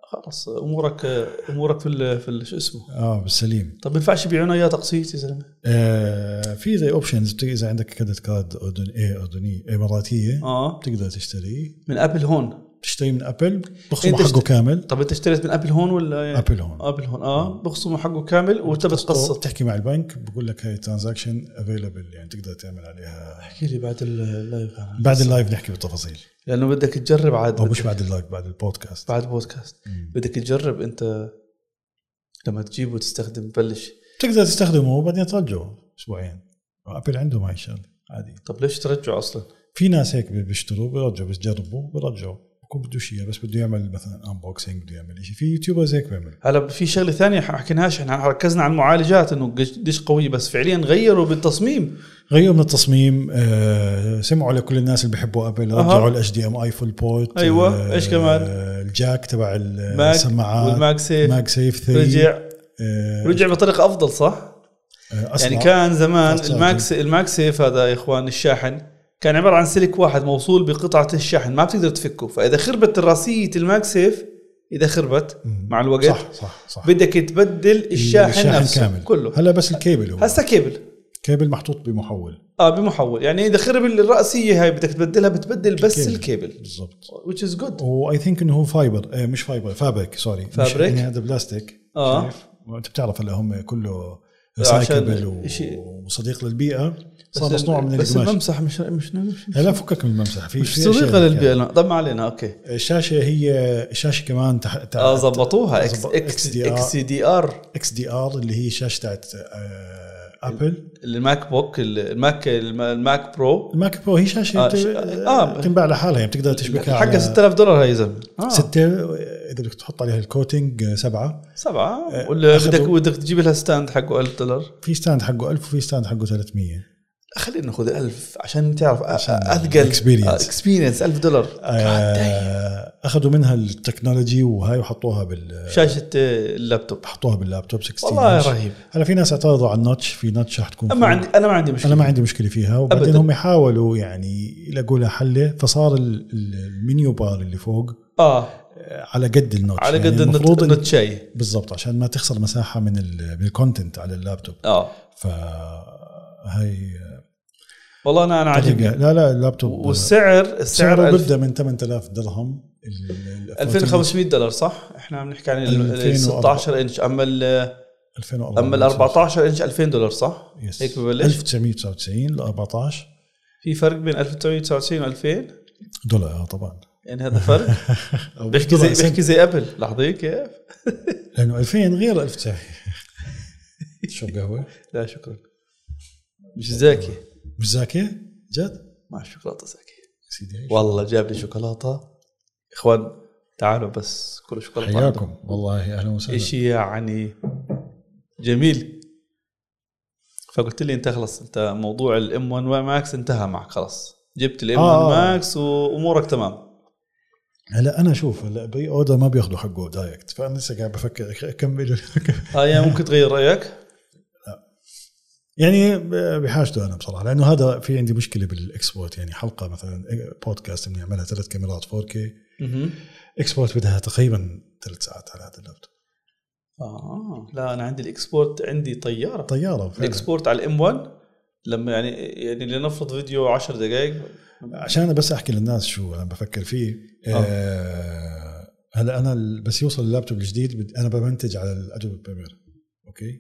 [SPEAKER 2] خلاص امورك امورك في ال في ال- شو اسمه
[SPEAKER 1] اه بالسليم
[SPEAKER 2] طب ما ينفعش يبيعونا اياه تقسيط يا زلمه
[SPEAKER 1] آه في زي اوبشنز اذا عندك كريدت كارد اردن ايه اردنيه اماراتيه
[SPEAKER 2] اه
[SPEAKER 1] بتقدر تشتريه
[SPEAKER 2] من ابل هون
[SPEAKER 1] تشتري من ابل بخصم
[SPEAKER 2] أنت
[SPEAKER 1] حقه
[SPEAKER 2] اشت-
[SPEAKER 1] كامل
[SPEAKER 2] طب انت اشتريت من ابل هون ولا
[SPEAKER 1] ابل هون
[SPEAKER 2] ابل هون اه بخصموا حقه كامل وانت بتقسط
[SPEAKER 1] بتحكي مع البنك بقول لك هاي ترانزاكشن افيلبل يعني تقدر تعمل عليها
[SPEAKER 2] احكي لي بعد اللايف عنها.
[SPEAKER 1] بعد اللايف نحكي بالتفاصيل
[SPEAKER 2] لانه بدك تجرب عاد
[SPEAKER 1] او مش
[SPEAKER 2] بدك-
[SPEAKER 1] بعد اللايف بعد البودكاست
[SPEAKER 2] بعد بودكاست
[SPEAKER 1] مم.
[SPEAKER 2] بدك تجرب انت لما تجيبه وتستخدم تبلش
[SPEAKER 1] تقدر تستخدمه وبعدين ترجعه اسبوعين ابل عندهم هاي الشغله عادي
[SPEAKER 2] طب ليش ترجعه اصلا؟
[SPEAKER 1] في ناس هيك بيشتروا بيرجعوا بس جربوا بيرجعوا بكون بدوش اياه بس بده يعمل مثلا انبوكسنج بده يعمل شيء في يوتيوبرز هيك بيعمل
[SPEAKER 2] هلا في شغله ثانيه ما حكيناهاش احنا ركزنا على المعالجات انه قش- قديش قويه بس فعليا غيروا بالتصميم
[SPEAKER 1] غيروا من التصميم آه، سمعوا لكل الناس اللي بيحبوا ابل
[SPEAKER 2] أها.
[SPEAKER 1] رجعوا الاتش دي ام اي فول بورت
[SPEAKER 2] أيوة،
[SPEAKER 1] آه،
[SPEAKER 2] إيش كمان؟
[SPEAKER 1] الجاك تبع
[SPEAKER 2] ماك
[SPEAKER 1] السماعات
[SPEAKER 2] والماك سيف
[SPEAKER 1] ماك سيف 3
[SPEAKER 2] رجع
[SPEAKER 1] آه،
[SPEAKER 2] رجع بطريقه افضل صح؟
[SPEAKER 1] آه، أسرع.
[SPEAKER 2] يعني كان زمان
[SPEAKER 1] أسرع
[SPEAKER 2] الماكس الماكسيف هذا يا اخوان الشاحن كان عباره عن سلك واحد موصول بقطعه الشاحن ما بتقدر تفكه فاذا خربت الراسيه الماكسيف اذا خربت
[SPEAKER 1] مم.
[SPEAKER 2] مع الوقت
[SPEAKER 1] صح صح صح
[SPEAKER 2] بدك تبدل الشاحن, نفسه كامل. كله
[SPEAKER 1] هلا بس الكيبل هو
[SPEAKER 2] هسه كيبل
[SPEAKER 1] كيبل محطوط بمحول
[SPEAKER 2] اه بمحول يعني اذا خرب الراسيه هاي بدك تبدلها بتبدل بس
[SPEAKER 1] الكيبل.
[SPEAKER 2] الكيبل
[SPEAKER 1] بالضبط
[SPEAKER 2] which is good
[SPEAKER 1] واي ثينك انه هو فايبر آه، مش فايبر فابريك سوري مش-
[SPEAKER 2] فابريك؟
[SPEAKER 1] يعني هذا بلاستيك
[SPEAKER 2] آه.
[SPEAKER 1] شايف انت بتعرف هلا هم كله
[SPEAKER 2] عشان
[SPEAKER 1] ريسايكبل و-
[SPEAKER 2] إشي-
[SPEAKER 1] وصديق للبيئه صار
[SPEAKER 2] بس
[SPEAKER 1] مصنوع
[SPEAKER 2] ال-
[SPEAKER 1] من
[SPEAKER 2] بس
[SPEAKER 1] القماش
[SPEAKER 2] الممسح مش مش مش,
[SPEAKER 1] هلا فكك من الممسح في
[SPEAKER 2] مش
[SPEAKER 1] في أشياء
[SPEAKER 2] صديقه
[SPEAKER 1] هيك
[SPEAKER 2] للبيئه
[SPEAKER 1] يعني.
[SPEAKER 2] لا، طب ما علينا اوكي
[SPEAKER 1] الشاشه هي شاشه كمان تح... تع-
[SPEAKER 2] اه ظبطوها اكس
[SPEAKER 1] زب-
[SPEAKER 2] اكس
[SPEAKER 1] XDR.
[SPEAKER 2] اكس دي ار
[SPEAKER 1] اكس دي ار اللي هي شاشه تاعت آه، ابل
[SPEAKER 2] الماك بوك الماك الماك برو
[SPEAKER 1] الماك برو هي شاشه
[SPEAKER 2] آه،
[SPEAKER 1] بت-
[SPEAKER 2] ش- آه.
[SPEAKER 1] تنباع لحالها يعني بتقدر تشبكها
[SPEAKER 2] حقها 6000 دولار هاي يا زلمه آه.
[SPEAKER 1] ستة اذا بدك تحط عليها الكوتنج آه، سبعه
[SPEAKER 2] سبعة
[SPEAKER 1] آه،
[SPEAKER 2] ولا
[SPEAKER 1] أخذوا-
[SPEAKER 2] بدك بدك تجيب لها ستاند حقه 1000 دولار
[SPEAKER 1] في ستاند حقه 1000 وفي ستاند حقه 300
[SPEAKER 2] لا، خلينا ناخذ 1000 عشان تعرف أ-
[SPEAKER 1] عشان
[SPEAKER 2] اثقل
[SPEAKER 1] experience.
[SPEAKER 2] اكسبيرينس 1000 دولار God damn.
[SPEAKER 1] آه، اخذوا آه، منها التكنولوجي وهاي وحطوها بال
[SPEAKER 2] شاشة آه، اللابتوب
[SPEAKER 1] حطوها باللابتوب 16
[SPEAKER 2] والله
[SPEAKER 1] inch.
[SPEAKER 2] رهيب
[SPEAKER 1] هلا في ناس اعترضوا على النوتش في نوتش راح تكون
[SPEAKER 2] اما
[SPEAKER 1] فوق.
[SPEAKER 2] عندي انا ما عندي
[SPEAKER 1] انا
[SPEAKER 2] مشكلة
[SPEAKER 1] ما عندي مشكله فيها وبعدين
[SPEAKER 2] أبداً.
[SPEAKER 1] هم حاولوا يعني يلاقوا لها حله فصار ال- ال- المنيو بار اللي فوق
[SPEAKER 2] اه
[SPEAKER 1] آه، على قد النوتش
[SPEAKER 2] على
[SPEAKER 1] يعني
[SPEAKER 2] قد
[SPEAKER 1] المفروض
[SPEAKER 2] النت
[SPEAKER 1] إن-
[SPEAKER 2] النت شاي
[SPEAKER 1] بالضبط عشان ما تخسر مساحه من ال- من الكونتنت على اللابتوب
[SPEAKER 2] اه
[SPEAKER 1] ف هي
[SPEAKER 2] والله انا انا عاجبني
[SPEAKER 1] طريقة- لا لا اللابتوب
[SPEAKER 2] والسعر
[SPEAKER 1] سعره
[SPEAKER 2] السعر ألف-
[SPEAKER 1] بدا من 8000 درهم ال- ال-
[SPEAKER 2] 2500 دولار صح؟ احنا عم نحكي عن ال
[SPEAKER 1] 2004.
[SPEAKER 2] 16 انش اما ال
[SPEAKER 1] 2004
[SPEAKER 2] اما ال 14 انش 2000 دولار صح؟
[SPEAKER 1] يس.
[SPEAKER 2] هيك ببلش
[SPEAKER 1] 1999 ل 14
[SPEAKER 2] في فرق بين 1999 و 2000
[SPEAKER 1] دولار آه، طبعا
[SPEAKER 2] يعني هذا فرق
[SPEAKER 1] او
[SPEAKER 2] بيحكي زي
[SPEAKER 1] دولار سنت.
[SPEAKER 2] بيحكي زي ابل لحظه كيف؟
[SPEAKER 1] لانه 2000 غير 1900 شرب قهوه
[SPEAKER 2] لا شكرا مش زاكي
[SPEAKER 1] مش زاكيه جد
[SPEAKER 2] مع الشوكولاته زاكي
[SPEAKER 1] سيدي هاي
[SPEAKER 2] والله جاب لي شوكولاته اخوان تعالوا بس كلوا شوكولاته عندهم.
[SPEAKER 1] حياكم والله اهلا وسهلا
[SPEAKER 2] اشي يعني جميل فقلت لي انت خلص انت موضوع الام 1 ماكس انتهى معك خلص جبت الام 1
[SPEAKER 1] آه.
[SPEAKER 2] ماكس وامورك تمام
[SPEAKER 1] هلا انا شوف هلا بري اوردر ما بياخذوا حقه دايركت فانا لسه قاعد بفكر اكمل
[SPEAKER 2] اه يعني ممكن تغير رايك
[SPEAKER 1] يعني بحاجته انا بصراحه لانه هذا في عندي مشكله بالاكسبورت يعني حلقه مثلا بودكاست بدي اعملها ثلاث كاميرات 4K
[SPEAKER 2] مهم.
[SPEAKER 1] اكسبورت بدها تقريبا ثلاث ساعات على هذا اللابتوب
[SPEAKER 2] اه لا انا عندي الاكسبورت عندي طياره
[SPEAKER 1] طياره فعلا.
[SPEAKER 2] الاكسبورت على الام 1 لما يعني يعني لنفرض فيديو 10 دقائق
[SPEAKER 1] عشان بس احكي للناس شو انا بفكر فيه آه هلا انا ال- بس يوصل اللابتوب الجديد بد- انا بمنتج على الادوبي بريمير اوكي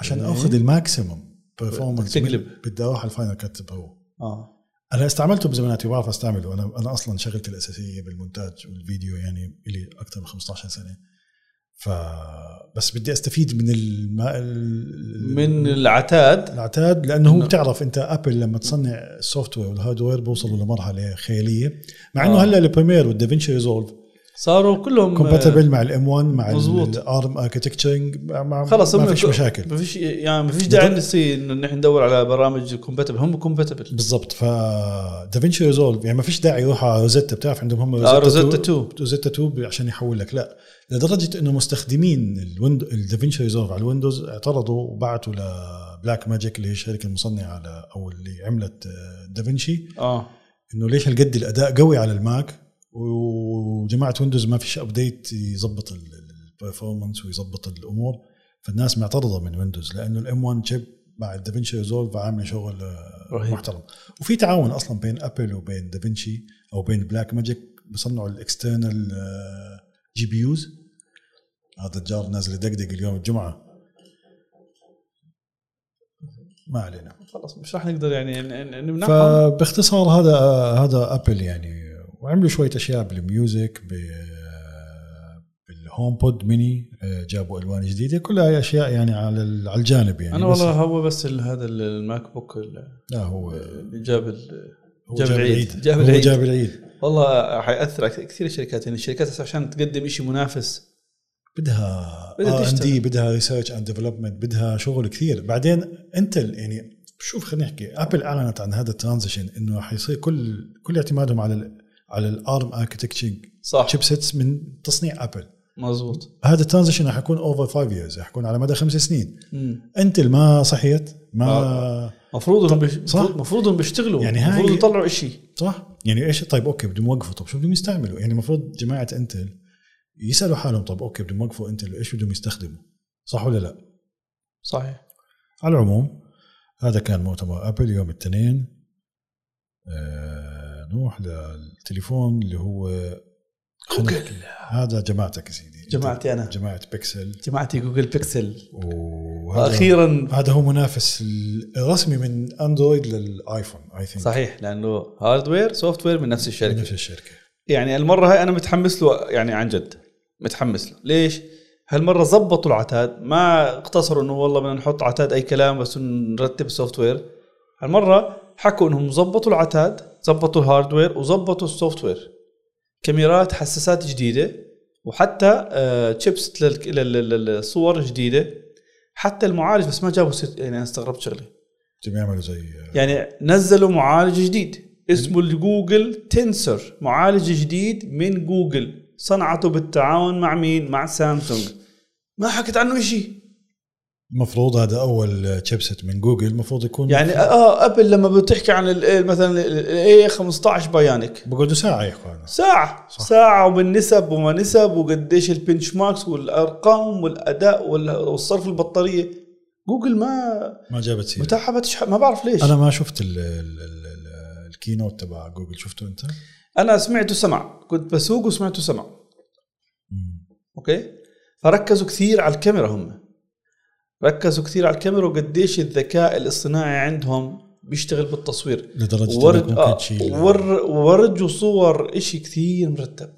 [SPEAKER 1] عشان
[SPEAKER 2] إيه.
[SPEAKER 1] اخذ الماكسيمم برفورمانس
[SPEAKER 2] تقلب.
[SPEAKER 1] بدي اروح على الفاينل كات برو
[SPEAKER 2] اه
[SPEAKER 1] انا استعملته بزماناتي وبعرف استعمله انا انا اصلا شغلتي الاساسيه بالمونتاج والفيديو يعني لي اكثر من 15 سنه ف بس بدي استفيد من الما... ال-
[SPEAKER 2] من العتاد
[SPEAKER 1] العتاد لانه هو
[SPEAKER 2] إنه-
[SPEAKER 1] بتعرف انت ابل لما تصنع السوفت وير والهاردوير بوصلوا لمرحله خياليه مع انه
[SPEAKER 2] آه.
[SPEAKER 1] هلا البريمير والدافنشي ريزولف
[SPEAKER 2] صاروا كلهم آه،
[SPEAKER 1] كومباتبل مع الام 1 مع
[SPEAKER 2] مزبوط.
[SPEAKER 1] الارم اركتكتشرنج مع
[SPEAKER 2] خلص
[SPEAKER 1] ما
[SPEAKER 2] هم
[SPEAKER 1] فيش
[SPEAKER 2] كو-
[SPEAKER 1] مشاكل
[SPEAKER 2] ما فيش يعني ما فيش داعي نسي انه نحن ندور على برامج كومباتبل هم كومباتبل
[SPEAKER 1] بالضبط ف دافنشي ريزولف يعني ما فيش داعي يروح على روزيتا بتعرف عندهم هم
[SPEAKER 2] آه، روزيتا 2.
[SPEAKER 1] روزيتا 2 عشان يحول لك لا لدرجه انه مستخدمين الويندو الدافنشي ريزولف على الويندوز اعترضوا وبعتوا لبلاك ماجيك اللي هي الشركه المصنعه على او اللي عملت آه، دافنشي
[SPEAKER 2] اه
[SPEAKER 1] انه ليش هالقد الاداء قوي على الماك وجماعه ويندوز ما فيش ابديت يظبط البرفورمانس ويظبط الامور فالناس معترضه من ويندوز لانه الام 1 شيب مع الدافنشي ريزولف عامله شغل آه،
[SPEAKER 2] رهيب.
[SPEAKER 1] محترم وفي تعاون اصلا بين ابل وبين دافنشي او بين بلاك ماجيك بصنعوا آه، الاكسترنال جي بي يوز هذا الجار نازل يدقدق اليوم الجمعه ما علينا
[SPEAKER 2] خلاص مش راح نقدر يعني ن- ن- نمنعهم
[SPEAKER 1] فباختصار هذا هذا ابل يعني وعملوا شويه اشياء بالميوزك ب- بالهوم بود ميني جابوا الوان جديده كلها هي اشياء يعني على ال- على الجانب يعني
[SPEAKER 2] انا
[SPEAKER 1] بس-
[SPEAKER 2] والله هو بس ال- هذا ال- الماك بوك ال-
[SPEAKER 1] لا هو
[SPEAKER 2] اللي جاب ال-
[SPEAKER 1] هو
[SPEAKER 2] جاب
[SPEAKER 1] جاب
[SPEAKER 2] العيد.
[SPEAKER 1] العيد
[SPEAKER 2] جاب
[SPEAKER 1] هو
[SPEAKER 2] العيد.
[SPEAKER 1] جاب العيد
[SPEAKER 2] والله حياثر على كثير الشركات يعني الشركات عشان تقدم شيء منافس
[SPEAKER 1] بدها
[SPEAKER 2] بدها
[SPEAKER 1] ار ان
[SPEAKER 2] تشتغل.
[SPEAKER 1] دي بدها ريسيرش اند ديفلوبمنت بدها شغل كثير بعدين انت ال- يعني شوف خلينا نحكي ابل اعلنت عن هذا الترانزيشن انه حيصير كل كل اعتمادهم على ال على الارم اركتكتشر
[SPEAKER 2] صح
[SPEAKER 1] تشيبسيتس من تصنيع ابل
[SPEAKER 2] مظبوط
[SPEAKER 1] هذا الترانزيشن راح يكون اوفر 5 ييرز راح يكون على مدى خمس سنين
[SPEAKER 2] مم.
[SPEAKER 1] انت اللي ما صحيت ما
[SPEAKER 2] آه. مفروض انهم بيش-
[SPEAKER 1] صح.
[SPEAKER 2] مفروض انهم بيشتغلوا
[SPEAKER 1] يعني
[SPEAKER 2] يعني
[SPEAKER 1] هاي-
[SPEAKER 2] المفروض يطلعوا شيء
[SPEAKER 1] صح يعني ايش طيب اوكي بدهم يوقفوا طب شو بدهم يستعملوا يعني المفروض جماعه انتل يسالوا حالهم طب اوكي بدهم يوقفوا انتل ايش بدهم يستخدموا صح ولا لا
[SPEAKER 2] صحيح
[SPEAKER 1] على العموم هذا كان مؤتمر ابل يوم الاثنين آه نروح للتليفون اللي هو خلينا
[SPEAKER 2] جوجل.
[SPEAKER 1] نحكي. هذا جماعتك يا سيدي أنت-
[SPEAKER 2] جماعتي انا
[SPEAKER 1] جماعه بيكسل
[SPEAKER 2] جماعتي جوجل بيكسل
[SPEAKER 1] وهذا
[SPEAKER 2] واخيرا
[SPEAKER 1] هذا هو منافس الرسمي من اندرويد للايفون اي ثينك
[SPEAKER 2] صحيح لانه هاردوير سوفت وير من نفس الشركه
[SPEAKER 1] نفس الشركه
[SPEAKER 2] يعني المره هاي انا متحمس له يعني عن جد متحمس له ليش هالمره زبطوا العتاد ما اقتصروا انه والله بدنا نحط عتاد اي كلام بس نرتب السوفت وير هالمره حكوا انهم زبطوا العتاد زبطوا الهاردوير وزبطوا السوفت وير كاميرات حساسات جديده وحتى آه، تشيبس للك- لل- لل- للصور جديده حتى المعالج بس ما جابوا ست- يعني انا استغربت شغله
[SPEAKER 1] بدهم يعملوا زي
[SPEAKER 2] يعني نزلوا معالج جديد اسمه الجوجل تنسر معالج جديد من جوجل صنعته بالتعاون مع مين مع سامسونج ما حكت عنه شيء
[SPEAKER 1] المفروض هذا اول تشيبسيت من جوجل المفروض يكون
[SPEAKER 2] يعني اه ابل لما بتحكي عن ال ال مثلا الاي 15 بايونيك
[SPEAKER 1] بقعدوا ساعه يحكوا عنه
[SPEAKER 2] ساعة صح. ساعة وبالنسب وما نسب وقديش البنش ماركس والارقام والاداء وال- والصرف البطارية جوجل ما
[SPEAKER 1] ما جابت سيره
[SPEAKER 2] متحبتش ما بعرف ليش
[SPEAKER 1] انا ما شفت ال ال ال ال الكينوت تبع جوجل شفته انت؟
[SPEAKER 2] انا سمعته سمع كنت بسوق وسمعته سمع
[SPEAKER 1] مم.
[SPEAKER 2] اوكي فركزوا كثير على الكاميرا هم ركزوا كثير على الكاميرا وقديش الذكاء الاصطناعي عندهم بيشتغل بالتصوير
[SPEAKER 1] لدرجه
[SPEAKER 2] ورج
[SPEAKER 1] إنك
[SPEAKER 2] آه
[SPEAKER 1] ممكن تشيل
[SPEAKER 2] ور ورجوا صور إشي كثير مرتب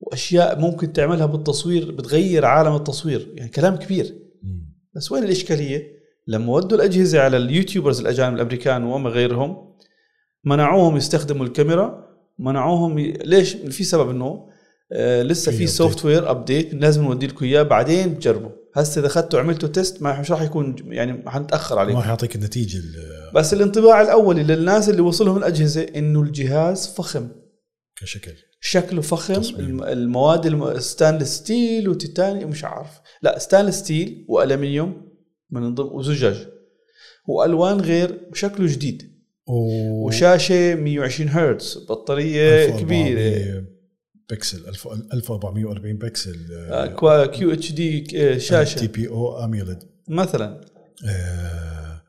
[SPEAKER 2] واشياء ممكن تعملها بالتصوير بتغير عالم التصوير يعني كلام كبير
[SPEAKER 1] مم.
[SPEAKER 2] بس وين الاشكاليه لما ودوا الاجهزه على اليوتيوبرز الاجانب الامريكان وما غيرهم منعوهم يستخدموا الكاميرا منعوهم ي... ليش في سبب انه آه لسه
[SPEAKER 1] في
[SPEAKER 2] في
[SPEAKER 1] update.
[SPEAKER 2] سوفت وير ابديت لازم نودي لكم اياه بعدين بتجربوا هسه اذا اخذته وعملته تيست ما مش راح يكون يعني حنتاخر عليكم
[SPEAKER 1] ما حيعطيك النتيجه ال-
[SPEAKER 2] بس الانطباع الاولي للناس اللي وصلهم الاجهزه انه الجهاز فخم
[SPEAKER 1] كشكل
[SPEAKER 2] شكله فخم
[SPEAKER 1] تصميم.
[SPEAKER 2] الم- المواد الم... ستانلس ستيل وتيتانيوم مش عارف لا ستانلس ستيل والومنيوم من ضمن وزجاج والوان غير وشكله جديد
[SPEAKER 1] و-
[SPEAKER 2] وشاشه 120 هرتز بطاريه
[SPEAKER 1] 1440
[SPEAKER 2] كبيره
[SPEAKER 1] بكسل 1000 1440 بكسل
[SPEAKER 2] آه، كيو اتش دي
[SPEAKER 1] تي
[SPEAKER 2] شاشه
[SPEAKER 1] بي او اميوليد
[SPEAKER 2] مثلا
[SPEAKER 1] آه،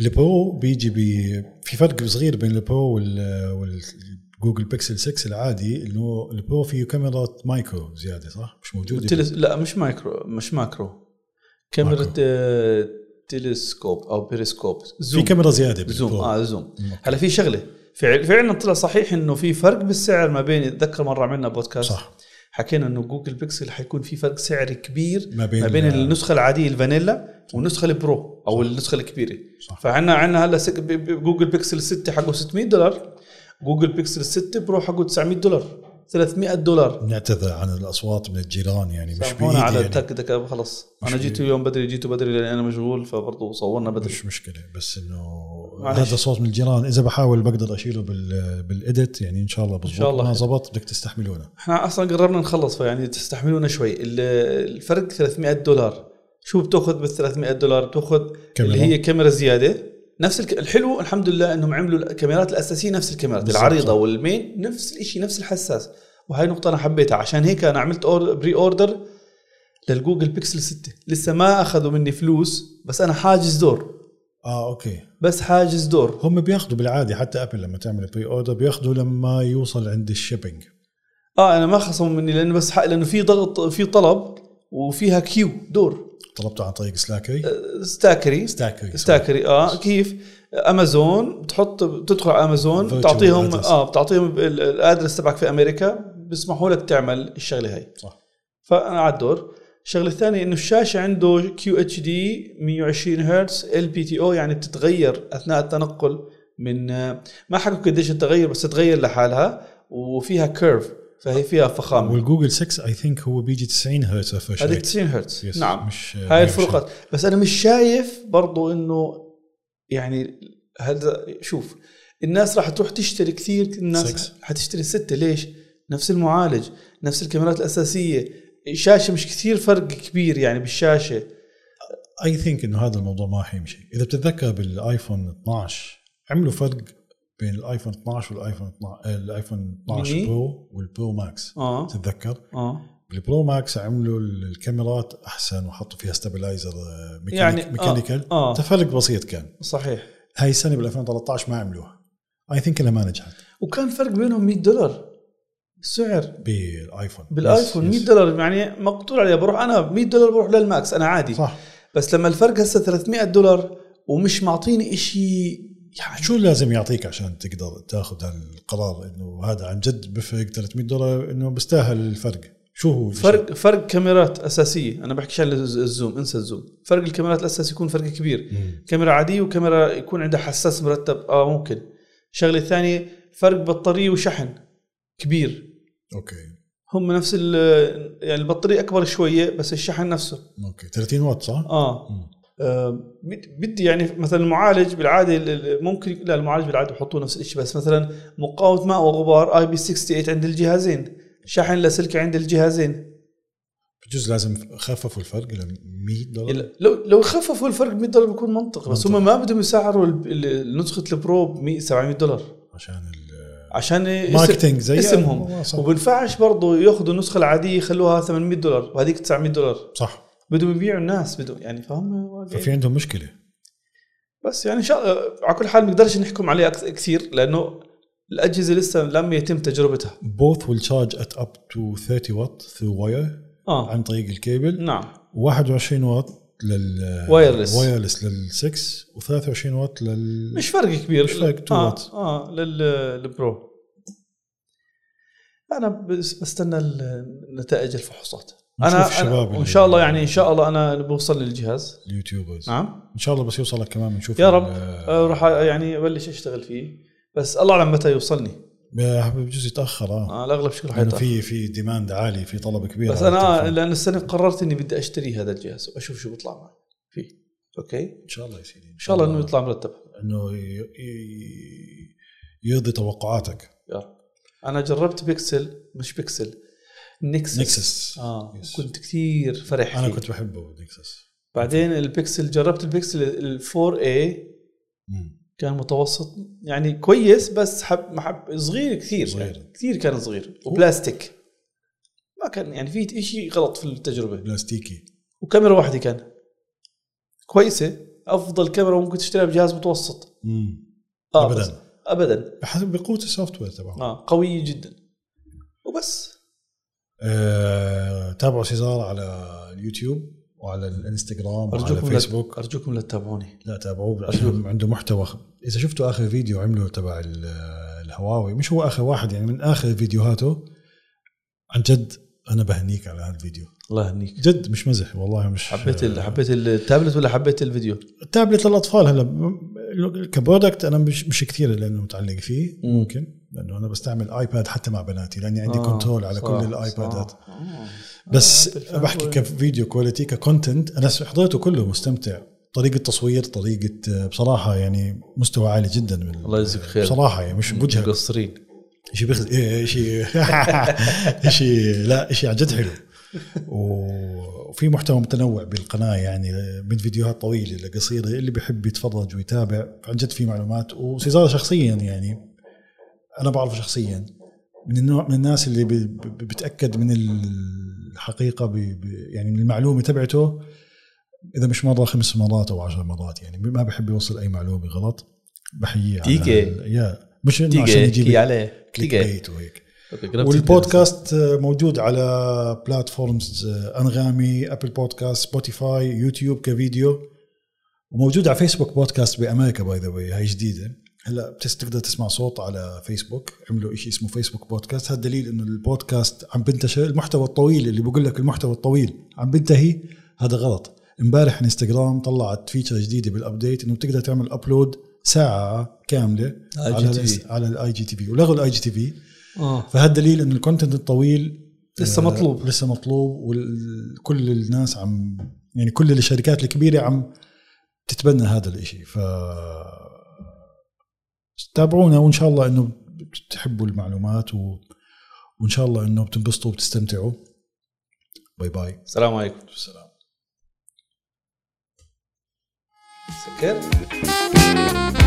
[SPEAKER 1] البرو بيجي بي في فرق صغير بين البرو وال- والجوجل بيكسل 6 العادي انه البرو فيه كاميرا مايكرو زياده صح؟ مش موجوده
[SPEAKER 2] والتلس... لا مش مايكرو مش ماكرو كاميرا
[SPEAKER 1] ماكرو.
[SPEAKER 2] آه، تلسكوب او بيريسكوب
[SPEAKER 1] في
[SPEAKER 2] زوم
[SPEAKER 1] كاميرا زياده
[SPEAKER 2] زوم
[SPEAKER 1] بالبرو
[SPEAKER 2] اه زوم
[SPEAKER 1] مم.
[SPEAKER 2] هلا في شغله فعل فعلا طلع صحيح انه في فرق بالسعر ما بين اتذكر مره عملنا بودكاست
[SPEAKER 1] صح
[SPEAKER 2] حكينا انه جوجل بيكسل حيكون في فرق سعري كبير
[SPEAKER 1] ما بين
[SPEAKER 2] ما بين النسخه العاديه الفانيلا والنسخه البرو او النسخه الكبيره
[SPEAKER 1] صح.
[SPEAKER 2] فعنا عنا هلا سك... ب- ب- جوجل بيكسل 6 حقه 600 دولار جوجل بيكسل 6 برو حقه 900 دولار 300 دولار
[SPEAKER 1] نعتذر عن الاصوات من الجيران يعني مش
[SPEAKER 2] هون
[SPEAKER 1] بايدي
[SPEAKER 2] على
[SPEAKER 1] يعني
[SPEAKER 2] التك تك خلص
[SPEAKER 1] مش
[SPEAKER 2] انا جيت
[SPEAKER 1] بإيدي.
[SPEAKER 2] اليوم بدري جيته بدري لان انا مشغول فبرضه صورنا بدري
[SPEAKER 1] مش مشكله بس انه
[SPEAKER 2] معلش.
[SPEAKER 1] هذا صوت من الجيران اذا بحاول بقدر اشيله بال بالاديت يعني ان شاء الله بزبط
[SPEAKER 2] شاء الله.
[SPEAKER 1] ما زبط بدك تستحملونه
[SPEAKER 2] احنا اصلا قربنا نخلص فيعني تستحملونا شوي ال- الفرق 300 دولار شو بتاخذ بال 300 دولار بتاخذ
[SPEAKER 1] كاميرا.
[SPEAKER 2] اللي هي كاميرا زياده نفس الك... الحلو الحمد لله انهم عملوا الكاميرات الاساسيه نفس الكاميرات
[SPEAKER 1] بالضبط.
[SPEAKER 2] العريضه والمين نفس الشيء نفس الحساس وهاي نقطه انا حبيتها عشان هيك انا عملت أور... بري اوردر للجوجل بيكسل 6 لسه ما اخذوا مني فلوس بس انا حاجز دور
[SPEAKER 1] اه اوكي
[SPEAKER 2] بس حاجز دور
[SPEAKER 1] هم بياخذوا بالعاده حتى ابل لما تعمل بري اوردر بياخذوا لما يوصل عند الشيبنج
[SPEAKER 2] اه انا ما خصموا مني لانه بس حق لانه في ضغط في طلب وفيها كيو دور
[SPEAKER 1] طلبته عن طريق سلاكري
[SPEAKER 2] أه، ستاكري
[SPEAKER 1] ستاكري
[SPEAKER 2] ستاكري اه كيف امازون بتحط بتدخل على امازون
[SPEAKER 1] Virtual
[SPEAKER 2] بتعطيهم
[SPEAKER 1] address.
[SPEAKER 2] اه بتعطيهم ال- الادرس تبعك في امريكا بيسمحوا لك تعمل الشغله هاي
[SPEAKER 1] صح
[SPEAKER 2] فانا على الدور الشغله الثانيه انه الشاشه عنده كيو اتش دي 120 هرتز ال بي تي او يعني بتتغير اثناء التنقل من آه، ما حكوا قديش التغير بس تتغير لحالها وفيها كيرف فهي فيها فخامه
[SPEAKER 1] والجوجل 6 اي ثينك هو بيجي 90 هرتز ريفرش
[SPEAKER 2] هذيك
[SPEAKER 1] ريت.
[SPEAKER 2] 90 هرتز
[SPEAKER 1] يس،
[SPEAKER 2] نعم
[SPEAKER 1] مش
[SPEAKER 2] هاي الفروقات بس انا مش شايف برضو انه يعني هذا شوف الناس راح تروح تشتري كثير الناس
[SPEAKER 1] Six.
[SPEAKER 2] حتشتري ستة ليش نفس المعالج نفس الكاميرات الأساسية الشاشة مش كثير فرق كبير يعني بالشاشة
[SPEAKER 1] اي ثينك انه هذا الموضوع ما حيمشي اذا بتتذكر بالايفون 12 عملوا فرق بين الايفون 12 والايفون 12 الايفون 12
[SPEAKER 2] ميني؟
[SPEAKER 1] برو والبرو ماكس
[SPEAKER 2] اه
[SPEAKER 1] تتذكر
[SPEAKER 2] اه
[SPEAKER 1] البرو ماكس عملوا الكاميرات احسن وحطوا فيها ستابلايزر
[SPEAKER 2] يعني، آه،
[SPEAKER 1] ميكانيكال
[SPEAKER 2] آه.
[SPEAKER 1] تفرق بسيط كان
[SPEAKER 2] صحيح
[SPEAKER 1] هاي السنه بال 2013 ما عملوها اي ثينك انها ما نجحت
[SPEAKER 2] وكان فرق بينهم 100 دولار السعر
[SPEAKER 1] بالايفون
[SPEAKER 2] بالايفون 100
[SPEAKER 1] دولار
[SPEAKER 2] دولار يعني مقتول عليها بروح انا 100 دولار بروح للماكس انا عادي
[SPEAKER 1] صح
[SPEAKER 2] بس لما الفرق هسه 300 دولار ومش معطيني إشي يعني
[SPEAKER 1] شو لازم يعطيك عشان تقدر تاخذ هالقرار انه هذا عن جد بفرق 300 دولار انه بستاهل الفرق شو هو الشيء؟
[SPEAKER 2] فرق فرق كاميرات اساسيه انا بحكي عن الز- الزوم انسى الزوم فرق الكاميرات الاساسي يكون فرق كبير
[SPEAKER 1] مم.
[SPEAKER 2] كاميرا عاديه وكاميرا يكون عندها حساس مرتب اه ممكن الشغله الثانيه فرق بطاريه وشحن كبير
[SPEAKER 1] اوكي
[SPEAKER 2] هم نفس ال- يعني البطاريه اكبر شويه بس الشحن نفسه
[SPEAKER 1] اوكي 30 واط صح؟
[SPEAKER 2] اه
[SPEAKER 1] مم.
[SPEAKER 2] آه، بد- بدي يعني مثلا المعالج بالعاده ال- ال- ممكن لا المعالج بالعاده بحطوه نفس الشيء بس مثلا مقاومه ماء وغبار اي بي 68 عند الجهازين شحن لاسلكي عند الجهازين
[SPEAKER 1] بجوز لازم خففوا الفرق ل 100 دولار
[SPEAKER 2] يلا، لو لو خففوا الفرق 100 دولار بيكون منطقي بس
[SPEAKER 1] منطقي.
[SPEAKER 2] هم ما بدهم يسعروا ال- ال- نسخه البرو ب 100 700 دولار
[SPEAKER 1] عشان ال-
[SPEAKER 2] عشان اسم-
[SPEAKER 1] ماركتينج زي آه،
[SPEAKER 2] اسمهم
[SPEAKER 1] صح.
[SPEAKER 2] وبنفعش برضه ياخذوا النسخه العاديه يخلوها 800 دولار وهذيك 900 دولار
[SPEAKER 1] صح
[SPEAKER 2] بدهم يبيعوا الناس بدهم يعني فهم واقعين.
[SPEAKER 1] ففي عندهم مشكله
[SPEAKER 2] بس يعني ان شاء الله على كل حال ما نقدرش نحكم عليه أكث- كثير لانه الاجهزه لسه لم يتم تجربتها
[SPEAKER 1] both will charge at up to 30 watt through wire
[SPEAKER 2] اه
[SPEAKER 1] عن طريق الكيبل
[SPEAKER 2] نعم
[SPEAKER 1] 21 واط لل
[SPEAKER 2] Wireless.
[SPEAKER 1] وايرلس لل 6 و23 واط لل
[SPEAKER 2] مش فرق كبير
[SPEAKER 1] مش فرق تو
[SPEAKER 2] اه,
[SPEAKER 1] وات.
[SPEAKER 2] آه لل... للبرو انا بس بستنى ال- نتائج الفحوصات
[SPEAKER 1] نشوف
[SPEAKER 2] انا
[SPEAKER 1] الشباب
[SPEAKER 2] أنا
[SPEAKER 1] اللي-
[SPEAKER 2] وان شاء الله يعني ان شاء الله انا بوصل للجهاز
[SPEAKER 1] اليوتيوبرز
[SPEAKER 2] نعم
[SPEAKER 1] ان شاء الله بس يوصلك كمان بنشوف
[SPEAKER 2] يا رب
[SPEAKER 1] ال-
[SPEAKER 2] آه، راح يعني ابلش اشتغل فيه بس الله اعلم متى يوصلني
[SPEAKER 1] آه، بجوز يتاخر اه
[SPEAKER 2] آه الاغلب شكله
[SPEAKER 1] لانه
[SPEAKER 2] حيطلع
[SPEAKER 1] في يعني في ديماند عالي في طلب كبير
[SPEAKER 2] بس
[SPEAKER 1] على
[SPEAKER 2] انا
[SPEAKER 1] التلفون.
[SPEAKER 2] لان السنه قررت اني بدي اشتري هذا الجهاز واشوف شو بيطلع معي فيه اوكي
[SPEAKER 1] ان شاء الله يا سيدي
[SPEAKER 2] ان شاء الله انه يطلع مرتب
[SPEAKER 1] انه ي- ي- يرضي توقعاتك
[SPEAKER 2] يا رب انا جربت بيكسل مش بيكسل نكسس
[SPEAKER 1] نكسس
[SPEAKER 2] اه
[SPEAKER 1] Yes.
[SPEAKER 2] كنت كثير فرح
[SPEAKER 1] انا
[SPEAKER 2] فيه.
[SPEAKER 1] كنت بحبه نكسس
[SPEAKER 2] بعدين البيكسل جربت البيكسل ال 4 اي
[SPEAKER 1] مم.
[SPEAKER 2] كان متوسط يعني كويس بس حب محب صغير كثير
[SPEAKER 1] صغير.
[SPEAKER 2] يعني كثير كان صغير وبلاستيك ما كان يعني في شيء غلط في التجربه
[SPEAKER 1] بلاستيكي
[SPEAKER 2] وكاميرا واحده كان كويسه افضل كاميرا ممكن تشتريها بجهاز متوسط
[SPEAKER 1] مم.
[SPEAKER 2] آه
[SPEAKER 1] أبداً.
[SPEAKER 2] بس- ابدا
[SPEAKER 1] بحسب بقوه السوفت وير تبعه
[SPEAKER 2] اه قويه جدا وبس
[SPEAKER 1] آه، تابعوا سيزار على اليوتيوب وعلى الانستغرام وعلى
[SPEAKER 2] ارجوكم
[SPEAKER 1] الفيسبوك
[SPEAKER 2] لا ارجوكم لا تتابعوني
[SPEAKER 1] لا تابعوه عشان عنده محتوى اذا شفتوا اخر فيديو عمله تبع ال- الهواوي مش هو اخر واحد يعني من اخر فيديوهاته عن جد انا بهنيك على هذا الفيديو
[SPEAKER 2] الله يهنيك
[SPEAKER 1] جد مش مزح والله مش
[SPEAKER 2] حبيت ال... حبيت التابلت ولا حبيت الفيديو؟
[SPEAKER 1] التابلت للاطفال هلا م- كبرودكت انا مش مش كثير لانه متعلق فيه ممكن لانه انا بستعمل ايباد حتى مع بناتي لاني عندي آه كنترول على كل الايبادات بس بحكي كفيديو كواليتي ككونتنت انا حضرته كله مستمتع طريقه تصوير طريقه آه، بصراحه يعني مستوى عالي جدا من
[SPEAKER 2] الله يجزيك خير.
[SPEAKER 1] بصراحه يعني مش بوجهك
[SPEAKER 2] مقصرين
[SPEAKER 1] إيه، شيء بيخز إيه، شيء شيء إيه، لا شيء عن جد حلو وفي محتوى متنوع بالقناه يعني من فيديوهات طويله لقصيره اللي بيحب يتفرج ويتابع عن جد في معلومات وسيزارة شخصيا يعني انا بعرفه شخصيا من النوع من الناس اللي بي- بي- بتاكد من الحقيقه بي- بي- يعني من المعلومه تبعته اذا مش مره خمس مرات او عشر مرات يعني ما بحب يوصل اي معلومه غلط بحييه على
[SPEAKER 2] تيكي.
[SPEAKER 1] هال- يا مش انه عشان
[SPEAKER 2] تيجي كي
[SPEAKER 1] يجيب
[SPEAKER 2] عليه
[SPEAKER 1] كليك
[SPEAKER 2] تيجي
[SPEAKER 1] بيت وهيك
[SPEAKER 2] أوكي، جربت
[SPEAKER 1] والبودكاست آه، موجود على آه، بلاتفورمز انغامي ابل بودكاست سبوتيفاي يوتيوب كفيديو وموجود على فيسبوك بودكاست بامريكا باي ذا واي هاي جديده هلا بتس تقدر تسمع صوت على فيسبوك عملوا شيء اسمه فيسبوك بودكاست هذا دليل انه البودكاست عم بنتشر المحتوى الطويل اللي بقول لك المحتوى الطويل عم بنتهي هذا غلط امبارح انستغرام طلعت فيتشر جديده بالابديت انه بتقدر تعمل ابلود ساعه كامله
[SPEAKER 2] على
[SPEAKER 1] على
[SPEAKER 2] IGTV.
[SPEAKER 1] الإنس- على الاي جي تي في ولغوا الاي جي تي في
[SPEAKER 2] اه
[SPEAKER 1] فهذا دليل انه الكونتنت الطويل
[SPEAKER 2] لسه
[SPEAKER 1] آه،
[SPEAKER 2] مطلوب.
[SPEAKER 1] لسه مطلوب وكل الناس عم يعني كل الشركات الكبيره عم تتبنى هذا الاشي ف تابعونا وان شاء الله انه بتحبوا المعلومات و... وان شاء الله انه بتنبسطوا وبتستمتعوا باي باي
[SPEAKER 2] السلام عليكم
[SPEAKER 1] والسلام
[SPEAKER 2] سكر